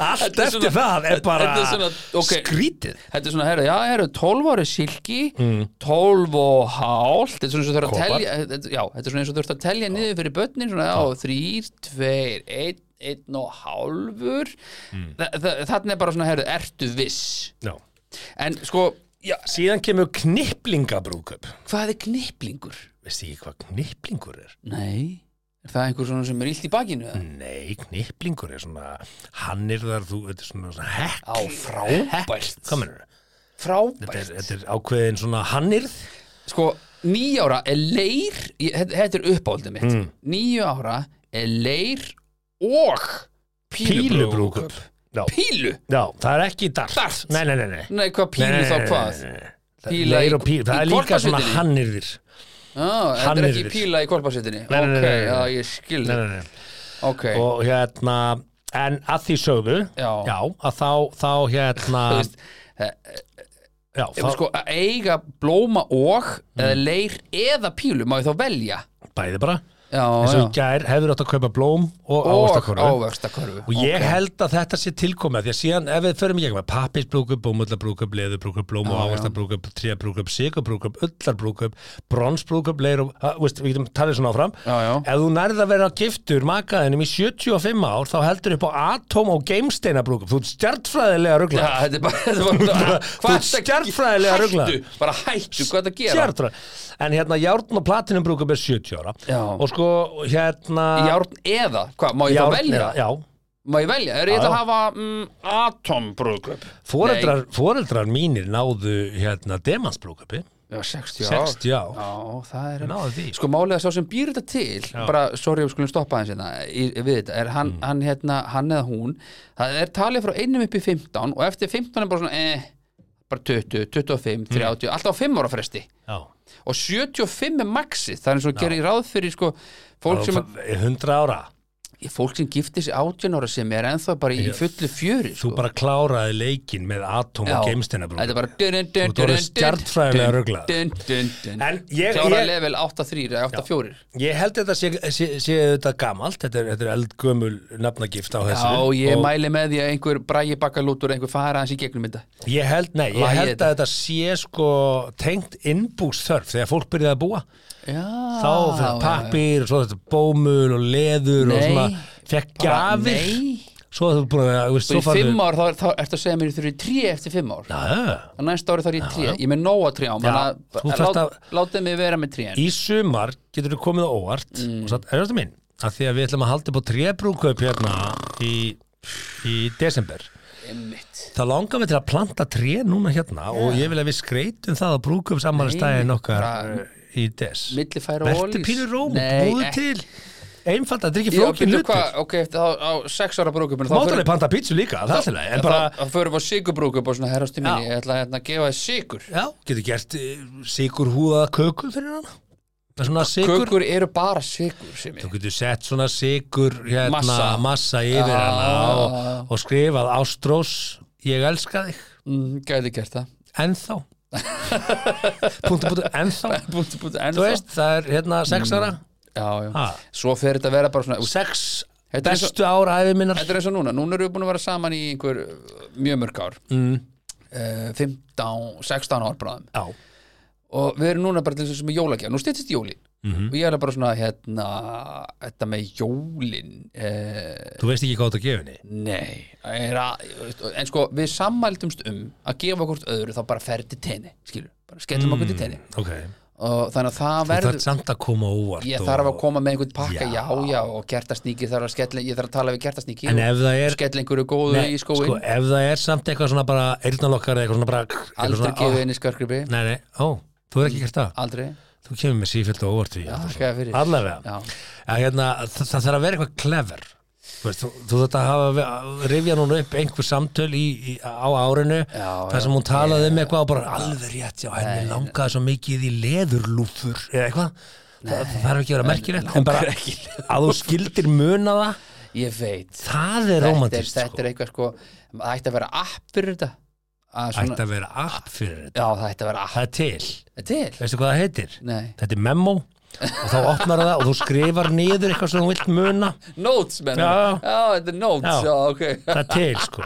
S1: Allt
S2: Þetta er
S1: eftir
S2: svona-
S1: það er bara
S2: þetta er svona- ok.
S1: skrítið Mm.
S2: þetta er svona, herra, já, herra, 12 ári silki 12 og hálft þetta er svona eins og þurft að
S1: Kopar.
S2: telja þetta- já, þetta er svona eins og þurft að telja niður fyrir börnin svona, já, 3, 2, 1 einn og hálfur Þa, þa, þannig er bara svona, herru, ertu viss
S1: Mm. Já.
S2: en sko, já,
S1: Síðan kemur knipplingabrúkup
S2: hvað er kniplingur?
S1: Veist ekki hvað knipplingur er?
S2: Nei, er það einhver svona sem er illt í bakinu?
S1: Mm.
S2: eða?
S1: Nei, knipplingur er svona hann er þar, þú, þetta er svona, svona hekk
S2: Á, frábært.
S1: Hekk, Hvað mennur? Þetta er,
S2: Frábært
S1: þetta er ákveðin svona hannirð
S2: Sko, níu ára er leir ég- Þetta þetta er uppáldið mitt mm. Níu ára er leir og
S1: Pílubrúkup Já.
S2: Pílu?
S1: Já, það er ekki dart
S2: Dart.
S1: Nei, nei, nei, nei.
S2: Nei, hvað pílu
S1: Nei, nei,
S2: þá
S1: nei,
S2: hvað?
S1: nei, nei, nei.
S2: Píla
S1: Leir
S2: í-
S1: og píl, það
S2: í
S1: er líka svona
S2: hvolpasveitinni?
S1: hannirðir
S2: Ah, þetta er ekki
S1: Hannyrðir.
S2: píla í kolpasveitinni
S1: Nei, nei, nei,
S2: Ok,
S1: nei, nei.
S2: já, ég skil
S1: nei,
S2: það
S1: nei, nei.
S2: Ok,
S1: og hérna en að því sögðu
S2: Já.
S1: að þá, þá hérna
S2: þú veist
S1: já,
S2: ef
S1: þá, Mm.
S2: Sko, að eiga blóma og eða leir eða pílu má ég þá velja
S1: bæði bara
S2: Já,
S1: eins og í
S2: já
S1: gær hefur átt að kaupa blóm og,
S2: Og
S1: ávaxtakörfu
S2: ávöxtakörfu
S1: og ég held að þetta sé tilkomið af því að síðan ef við förum í gegn með pappisbrúkup, bómullabrúkup, leðurbrúkup, blóm og
S2: Já, já.
S1: ávaxtabrúkup, trébrúkup, sigurbrúkup, ullarbrúkup, bronsbrúkup, leir og, að, veist, við getum talið svona áfram.
S2: Já, já.
S1: Ef þú nærð að vera giftur makaðinum í 75 ár þá heldur upp á atóm og geimsteinabrúkup. Þú ert stjartfræðilega
S2: Já,
S1: rugglar.
S2: þetta er bara, þetta er bara
S1: Þú
S2: hvað
S1: ert
S2: ertu að-
S1: stjarnfræðilega ruglaður.
S2: Hættu, bara hættu, hvað það gera
S1: Stjarnfræði. En hérna, járn og platinum brúkup er 70 ára.
S2: Já.
S1: Og sko, hérna...
S2: Járn eða, hvað, má ég þá velja?
S1: Já,
S2: Má ég velja, er ég
S1: Já,
S2: það að
S1: já.
S2: hafa mm, atombrúðkaup?
S1: Foreldrar, foreldrar mínir náðu hérna demansbrúkupi,
S2: Já, 60 ár
S1: 60 ár.
S2: Já, það er
S1: Náðu því.
S2: Sko málið að sá sem býr þetta til bara, sorry, við skulum stoppa hans hérna í- við þetta, er hann, hann, hérna, hann eða hún það er talið frá einum upp í 15 og eftir 15 er bara svona eh, bara 20, 25, 30 alltaf á 5 ára fresti
S1: Já.
S2: og 75 er maxið, það er eins og gerir ráð fyrir sko, fólk sem,
S1: Það er 100 ára.
S2: fólk sem giftir sig 18 ára sem er ennþá bara í fullu fjöri
S1: Þú
S2: sko.
S1: bara kláraði leikin með atóm og
S2: Þetta er
S1: geimsteinabrúkup.
S2: bara dun, dun,
S1: Þú ert orðin stjarnfræðilega ruglaður.
S2: dun, dun, dun.
S1: En ég-
S2: Klára
S1: ég-
S2: level 8-3 eða 8-4
S1: Ég held þetta sé, sé, sé þetta gamalt, þetta er, þetta er eldgömul nafnagift á
S2: Já,
S1: þessu.
S2: ég
S1: og
S2: mæli með því að einhver brægi bakkalútur einhver fara hans í gegnum þetta
S1: Ég held, nei, ég
S2: Lagið
S1: held
S2: þetta.
S1: að þetta sé sko tengt innbúksþörf þegar fólk byrjaði að búa.
S2: Ah, Já,
S1: þá fyrir pappir og svo þetta bómul og leður og
S2: Nei.
S1: svona fekk gafir
S2: Nei,
S1: svo þú búin að veist, svo
S2: svo í
S1: farðu-
S2: 5 ár þá, þá ertu að segja mér þú eru 3 eftir 5 ár
S1: Já,
S2: Á næsta ári þá er ég 3, ég er með nóa 3
S1: Já,
S2: ám þannig
S1: þú
S2: að
S1: þarft
S2: lát,
S1: að-
S2: látið mig vera með 3
S1: í sumar getur þú komið á óvart
S2: Mm.
S1: og satt, er þetta minn, að því að við ætlum að halda upp á trébrúkaup hérna í, í desember
S2: Einmitt
S1: það langar við til að planta tré núna hérna og ég vil að við skreitum það á brúkaup samanstæðin okkar
S2: bara-
S1: í des
S2: Milli færa og
S1: verður
S2: ólís
S1: pínur róm,
S2: Nei,
S1: búðu
S2: ekki-
S1: til einfalda, þetta er ekki
S2: Já,
S1: flókin
S2: býttu,
S1: hlutur
S2: hvað, ok, eftir þá- á 6 ára brúkum
S1: mátalega panta pítsu líka, það er til að en bara,
S2: Það förum við á sigurbrúku bara svona herrastu minni,
S1: Já.
S2: ég ætla hérna að gefa þér sigur
S1: Já, getur gert sigur húða kökur fyrir hana Það er svona sigur
S2: Kökur eru bara sigur sem
S1: Þú
S2: ég
S1: getur sett svona sigur hérna, massa.
S2: Massa.
S1: yfir
S2: Já.
S1: hana og, og skrifað Ástrós, ég elska þig
S2: mm, Gæti gert það
S1: Ennþá Púntu púntu, ennþá
S2: Búti, búti,
S1: Þú veist, það er hérna
S2: Mm.
S1: sex ára
S2: Já, já
S1: ha,
S2: Svo fer þetta að vera bara svona
S1: Sex
S2: Þetta er
S1: bestu ára æfi minnar
S2: Þetta er eins og núna, núna erum við búin að vera saman í einhver uh, mjög mörg ár mm. 15, 16 ár bráðum
S1: Já,
S2: og við erum núna bara til þess að sem er jólagja, nú styttist í jólin
S1: Mhm.
S2: og ég er bara svona hérna þetta með jólin eh,
S1: Þú veist ekki hvað þetta gefinni
S2: nei er að, en sko við sammæltumst um að gefa okkur öðru þá bara ferð til tenni skilur, bara skellum okkur til tenni
S1: Ok,
S2: og þannig að það
S1: Mm. þú
S2: verður
S1: þarf samt að koma á óvart
S2: ég
S1: og-
S2: þarf að koma með einhvern pakka,
S1: Já.
S2: já, já, og kertasníki þarf að skella, ég þarf að tala við kertasníki
S1: En ef það er
S2: skella einhverju góðu
S1: Nei,
S2: í skóin
S1: sko, ef það er samt eitthvað svona bara eyrnalokkar eða eitthvað svona bara eitthvað
S2: aldrei
S1: svona, ah. ó,
S2: gefið henni skörgripi,
S1: Nei, nei, ó, þú er ekki gert það
S2: aldrei
S1: Þú kemur með sífjöld og óvart því alltaf
S2: þakka þér fyrir.
S1: Allavega,
S2: Já.
S1: ja, hérna, það, það þarf að vera eitthvað clever Þú veist, Þú, þú þetta hafa ve- að rifja núna upp einhver samtöl í, í, á árinu
S2: Já,
S1: þar sem hún talaði um eitthvað og bara alveg rétt, já, henni langaði svo mikið í leðurlúfur eða eitthvað það, það þarf ekki að vera merkilegt en bara að þú skildir muna það
S2: ég veit,
S1: það er
S2: þetta er,
S1: romantist
S2: þetta
S1: sko.
S2: er eitthvað sko það ætti að vera app fyrir þetta Að svona,
S1: ætti að vera app fyrir þetta
S2: já, það ætti að vera app
S1: það er til,
S2: til,
S1: veistu hvað það heitir?
S2: nei,
S1: þetta er memo og þá opnar það og þú skrifar niður eitthvað sem þú vilt muna
S2: notes menn
S1: Já.
S2: þetta er notes,
S1: Já.
S2: já, ok
S1: það er til sko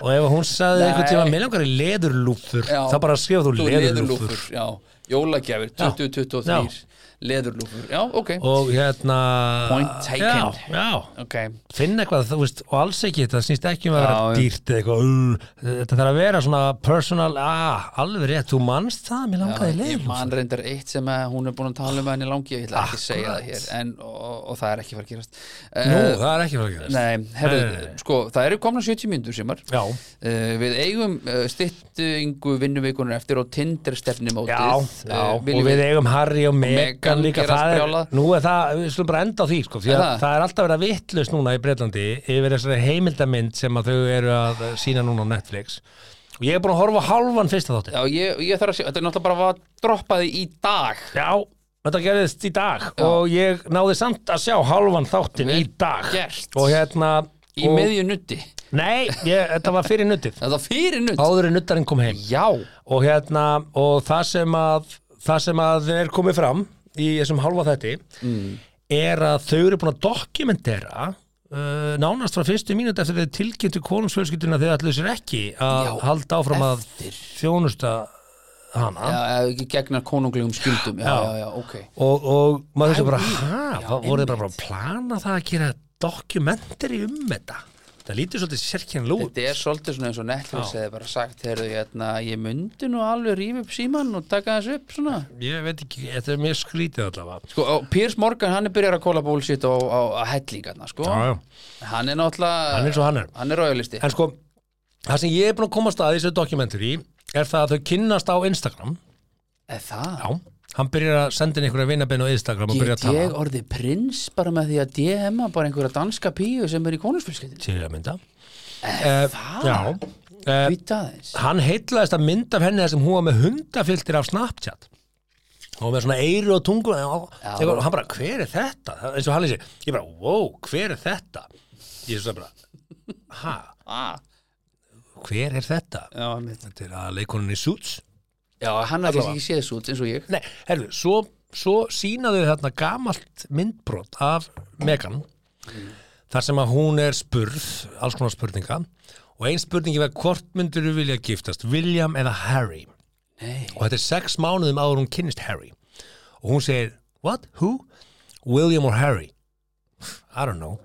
S1: og ef hún sagði
S2: Nei.
S1: einhvern tíma með langar í leðurlúfur
S2: Já.
S1: þá bara skrifa þú
S2: Þú
S1: leðurlúfur
S2: leðurlúfur, já, jólagjafir 2023, leðurlúfur já, ok,
S1: og hérna
S2: Point taken.
S1: já, já,
S2: ok
S1: finna eitthvað þú veist, og alls ekki, það snýst ekki um að vera
S2: Já, já.
S1: dýrt eða eitthvað uh, þetta þarf að vera svona personal, ah, alveg rétt þú manst það, mér langaði í
S2: ég man
S1: leðurlúfur
S2: reyndar eitt sem að hún er búin að tala um að henni langi ég ætla ekki að segja það
S1: Akkurat.
S2: hér en, og, og það er ekki fara að gerast
S1: nú,
S2: Eh,
S1: það er ekki fyrir að gerast
S2: Nei, herru,
S1: Nei, nei, nei.
S2: sko, það eru komna 70 myndur semar
S1: já,
S2: Uh, við eigum uh, styttingu vinnuvikunar eftir Eh, og Tinder stefnumótið
S1: já, já. og við e- eigum Harry og Megan
S2: Meghan
S1: líka
S2: gerast
S1: það er,
S2: brjálað.
S1: nú er það, við slum bara enda á því sko, því
S2: Er
S1: að
S2: það?
S1: það er alltaf verið að vittlust núna í Breitlandi yfir þessari heimildamind sem að þau eru að sína núna á Netflix og ég er búin að horfa á hálfan fyrsta þátti
S2: Já, ég, ég þarf að sé, þetta er náttúrulega bara að droppaði í dag
S1: já, þetta gerðist í dag og ég náði samt að sjá hálfan þáttin
S2: Vel
S1: í dag
S2: gert.
S1: og hérna
S2: í
S1: og,
S2: miðju nutti
S1: nei, ég, þetta var fyrir nuttið
S2: Þetta var fyrir nutt
S1: áður en nuttarinn kom heim
S2: Já,
S1: og hérna og það sem að það sem að er komið fram í þessum hálfa þetti
S2: Mm.
S1: er að þau eru búin að dokumentera uh, nánast frá fyrstu mínúti eftir þau tilkynntu konungsfjölskylduna þegar allir sér ekki að halda áfram að þjónusta hana
S2: já, eða ekki gegna konunglegum skildum Já, já, já, ok
S1: og, og maður um þessu bara,
S2: weird.
S1: hæ, voru þið bara að plana það að gera dokumentari um þetta það lítur svolítið sérkjænlega út
S2: Þetta er svolítið svona eins og Netflix hefði bara sagt Heyrðu, hérna, ég myndi nú alveg rífa upp síman og taka þessu upp svona
S1: ég veit ekki, þetta er mjög skrítið allavega
S2: Sko, og Piers Morgan, hann er byrjar að kóla bullshit á, á, á hellingarna, sko
S1: já, já.
S2: Hann er náttúrulega
S1: hann er svo hann er
S2: Hann er royalisti
S1: En sko, það sem ég er búin að komast að í þessu dokumentari er það að þau kynnast á Instagram
S2: Er það?
S1: Já, hann byrjar að senda inn einhverja vinabenn á Instagram og byrja að
S2: Get
S1: tala
S2: ég orðið prins bara með því að DM-a bara einhverja danska píu sem er í konusfjölskyldinu?
S1: til að mynda uh, Já uh,
S2: Vita aðeins.
S1: Hann heitlaðist að mynd af henni þar sem hún var með hundafiltir af Snapchat og með svona eyru og tungu og og hann bara, hver er þetta? Það- eins og hann lýsi, ég bara, wow, hver er þetta? Ég svo bara, ha,
S2: Ah,
S1: hver er þetta?
S2: já, einmitt.
S1: Þetta er að leikoninni Suits
S2: já, hann er kannski ekki séð þessu út eins og ég.
S1: Nei, herru, svo, svo sínaðu þarna gamalt myndbrot af Megan þar sem að hún er spurð, alls konar spurninga og ein spurningi var hvort myndur þú vilja giftast, William eða Harry
S2: Nei.
S1: og þetta er sex mánuðum áður hún kynnist Harry og hún segir, what, who, William or Harry I don't know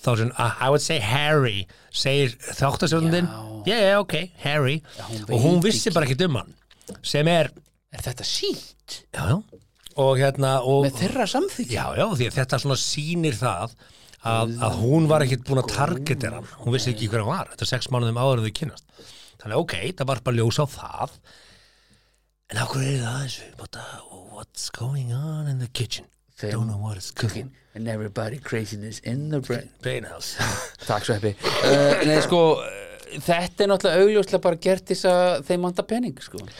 S1: þá sem, uh, I would say Harry segir þáttasjóðundin yeah, yeah, ok, Harry
S2: hún
S1: og hún
S2: veit
S1: vissi bara ekki um hann sem er
S2: Er þetta sínt?
S1: já, já. og hérna og,
S2: Með þeirra samþykja?
S1: já, já, því að þetta svona sýnir það að, að hún var ekkit búin að targetera hann hún vissi ekki hver hann var, þetta er sex mánuðum áður en þau kynast þannig ok, það var bara ljós á það en af hverju er það þessu But, uh, what's going on in the kitchen
S2: Þeim-
S1: don't know what it's cooking
S2: And everybody craziness in the brain.
S1: Bainhouse
S2: Takk svo heppi. Uh, nei, sko, uh, þetta er náttúrulega augljóslega bara gert þess að þeim manda pening, sko.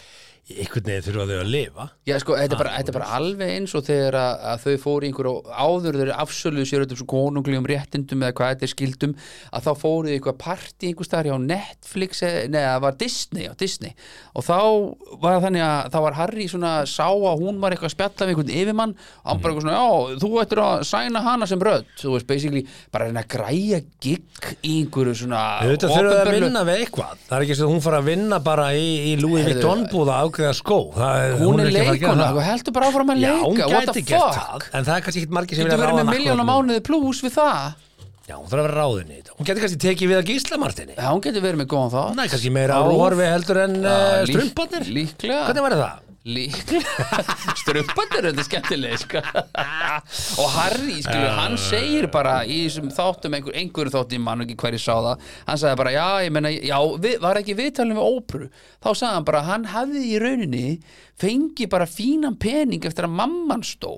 S1: einhvern veginn þurfa þau að lifa
S2: Já, sko, þetta er bara, þetta er bara alveg eins og þegar að, að þau fóru í einhverju áður þeir afsöluðu sér þetta konunglegum réttindum eða hvað þetta er skildum að þá fóru í eitthvað partí einhver starf hjá Netflix eða- nei, það var Disney, já, Disney og þá var það þannig að þá var Harry svona sá að hún var eitthvað að spjalla við einhvern yfirmann og
S1: Mhm.
S2: hann bara eitthvað svona, já, þú ættir að sæna hana sem rödd, þú veist, basically bara að reyna að græja gigg í einhverju svona
S1: Þau þurfa þau að
S2: opinberu-
S1: vinna við eitthvað Það er ekki svo að hún fara að vinna bara í, í Louis
S2: Heyrðu,
S1: Vuitton búða af ákveða skó það, er-
S2: Hún er
S1: ekki að fara að gera
S2: leikona,
S1: það.
S2: þú heldur bara áfram að
S1: Já,
S2: leika
S1: hún
S2: what
S1: gæti
S2: the
S1: gert
S2: fuck?
S1: það En það er kannski ekkit margir sem
S2: Getur
S1: vilja ráða
S2: verið með
S1: hana
S2: miljónum
S1: akkurat
S2: mánuði pluss við það
S1: nú. Já, hún þarf að vera ráðinni í þetta Hún getur kannski tekið við að gísla Martini
S2: Já, hún getur verið með góðan
S1: Hún
S2: það
S1: er kannski meira
S2: Á RÚV.
S1: áhorfi heldur en uh,
S2: Já, lík-
S1: strumparnir
S2: líklega.
S1: Hvernig var það?
S2: Líklega Strumpandir þetta er skemmtileg sko. Ah. Og Harry, skilur, hann segir bara í þessum þáttum, einhver, einhverju þáttum mann ekki hverju sá það, hann sagði bara já, ég meina, já, við, var ekki viðtalin við ópru þá sagði hann bara, hann hafði í rauninni fengi bara fínan pening eftir að mamman stó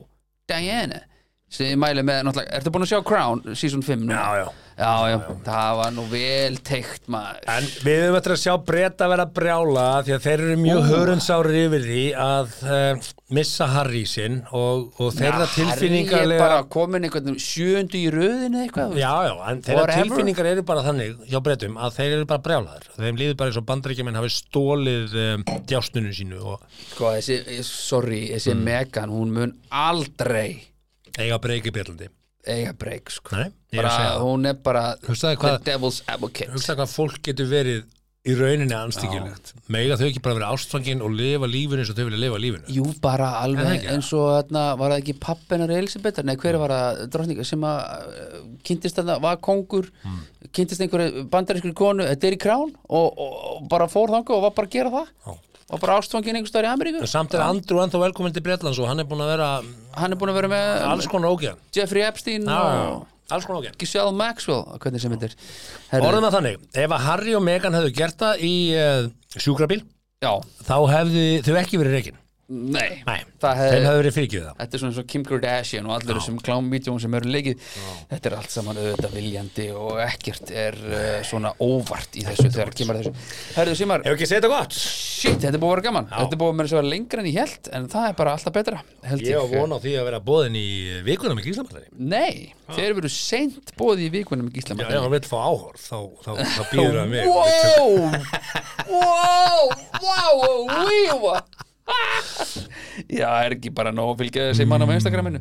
S2: Diana, sem ég mæli með náttúrulega, ertu búin að sjá Crown, season 5 núna?
S1: Já, já.
S2: Já, já, það var nú vel teikt maður
S1: En við höfum eftir að sjá breyta vera brjála því að þeir eru mjög hörundsári yfir því að uh, missa Harry sinn og, og þeirra
S2: Já, Harry er
S1: tilfinningarlega
S2: bara komin einhvern sjöndu í röðin eða eitthvað þú veist.
S1: Já, já, en þeirra
S2: Whatever.
S1: tilfinningar eru bara þannig hjá breytum að þeir eru bara brjálaður þeim líður bara eins og bandaríkjumenn hafi stólið um, djástunum sínu og
S2: Sko, þessi, eh, sorry, þessi
S1: Mm.
S2: Megan hún mun aldrei
S1: eiga breyki byrlandi
S2: eiga breyk, sko
S1: Nei, ég er að segja
S2: bara,
S1: það
S2: hún er bara
S1: Hugsaðu
S2: the
S1: hvað-
S2: devil's advocate
S1: Hugsa hvað fólk getur verið í rauninni anstíkjulegt Mega þau ekki bara vera ástfangin og lifa lífinu eins og þau vilja lifa lífinu
S2: Jú, bara
S1: Er það
S2: alveg
S1: ekki?
S2: eins og þarna, var það ekki pappinar Elisabethar, nei hver var það drottning sem að eh, kynntist þarna, var kongur,
S1: Mm.
S2: kynntist einhverju bandarinskri konu, þetta er í krán og, og, og bara fór þangu og var bara að gera það
S1: Já.
S2: og bara ástfangin einhvers staðar í
S1: En
S2: Ameríku
S1: Samt er Andrew ennþá velkominn til Bretlands og hann er búin að vera
S2: hann er búin að vera með
S1: alls konar ógeðan
S2: Jeffrey Epstein
S1: Já,
S2: og
S1: alls konar ágætt
S2: Giselle Maxwell hvernig sem þetta er Herru,
S1: Orðum að þannig, ef að Harry og Meghan hefðu gert það í uh, sjúkrabíl
S2: já,
S1: þá hefðu þau ekki verið reikin
S2: nei,
S1: Nei,
S2: það
S1: þeim
S2: hefði
S1: hefðu verið fyrirgjöð það
S2: Þetta er svona eins og Kim Kardashian og allir þessum klámvítjum sem eru leikið Þetta er allt saman auðvitað viljandi og ekkert er uh, svona óvart í þessu þegar kemur að þessu Herðu Simar,
S1: Hefur ekki segið þetta gott?
S2: shit, þetta er búið að vera gaman Þetta er búið að vera svo lengra en ég held en það er bara alltaf betra held
S1: Ég var vona á því að vera bóðin í vikuna með gíslamatari
S2: Nei, þeir eru verið seint bóðið í vikunum í
S1: Já,
S2: Gíslam
S1: ef hann vil fá áhorf, þá, þá, þá býður hann mig
S2: Wow Wow Wow Wow Já, er ekki bara nóg að fylgja þessi mann á Instagraminu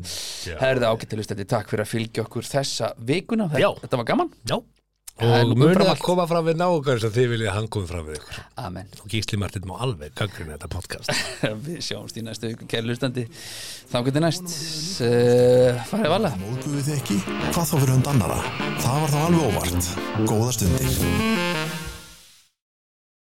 S2: Herða ágættilustandi, takk fyrir að fylgja okkur þessa vikuna
S1: Já.
S2: Þetta, þetta var gaman
S1: Já,
S2: Það er
S1: og
S2: nú
S1: munið
S2: umfram
S1: að
S2: allt.
S1: koma fram við náungar þess að þið viljið að hann komi fram við ykkur
S2: Amen
S1: og Gísli Martin má alveg gangrinu þetta podcast
S2: Við sjáumst í næstu viku, kæri lustandi Þangur til næst uh, Farið vala
S4: Móðguðu þið ekki? Hvað þá fyrir hund annara? Það var þá alveg óvart. Góða stundir.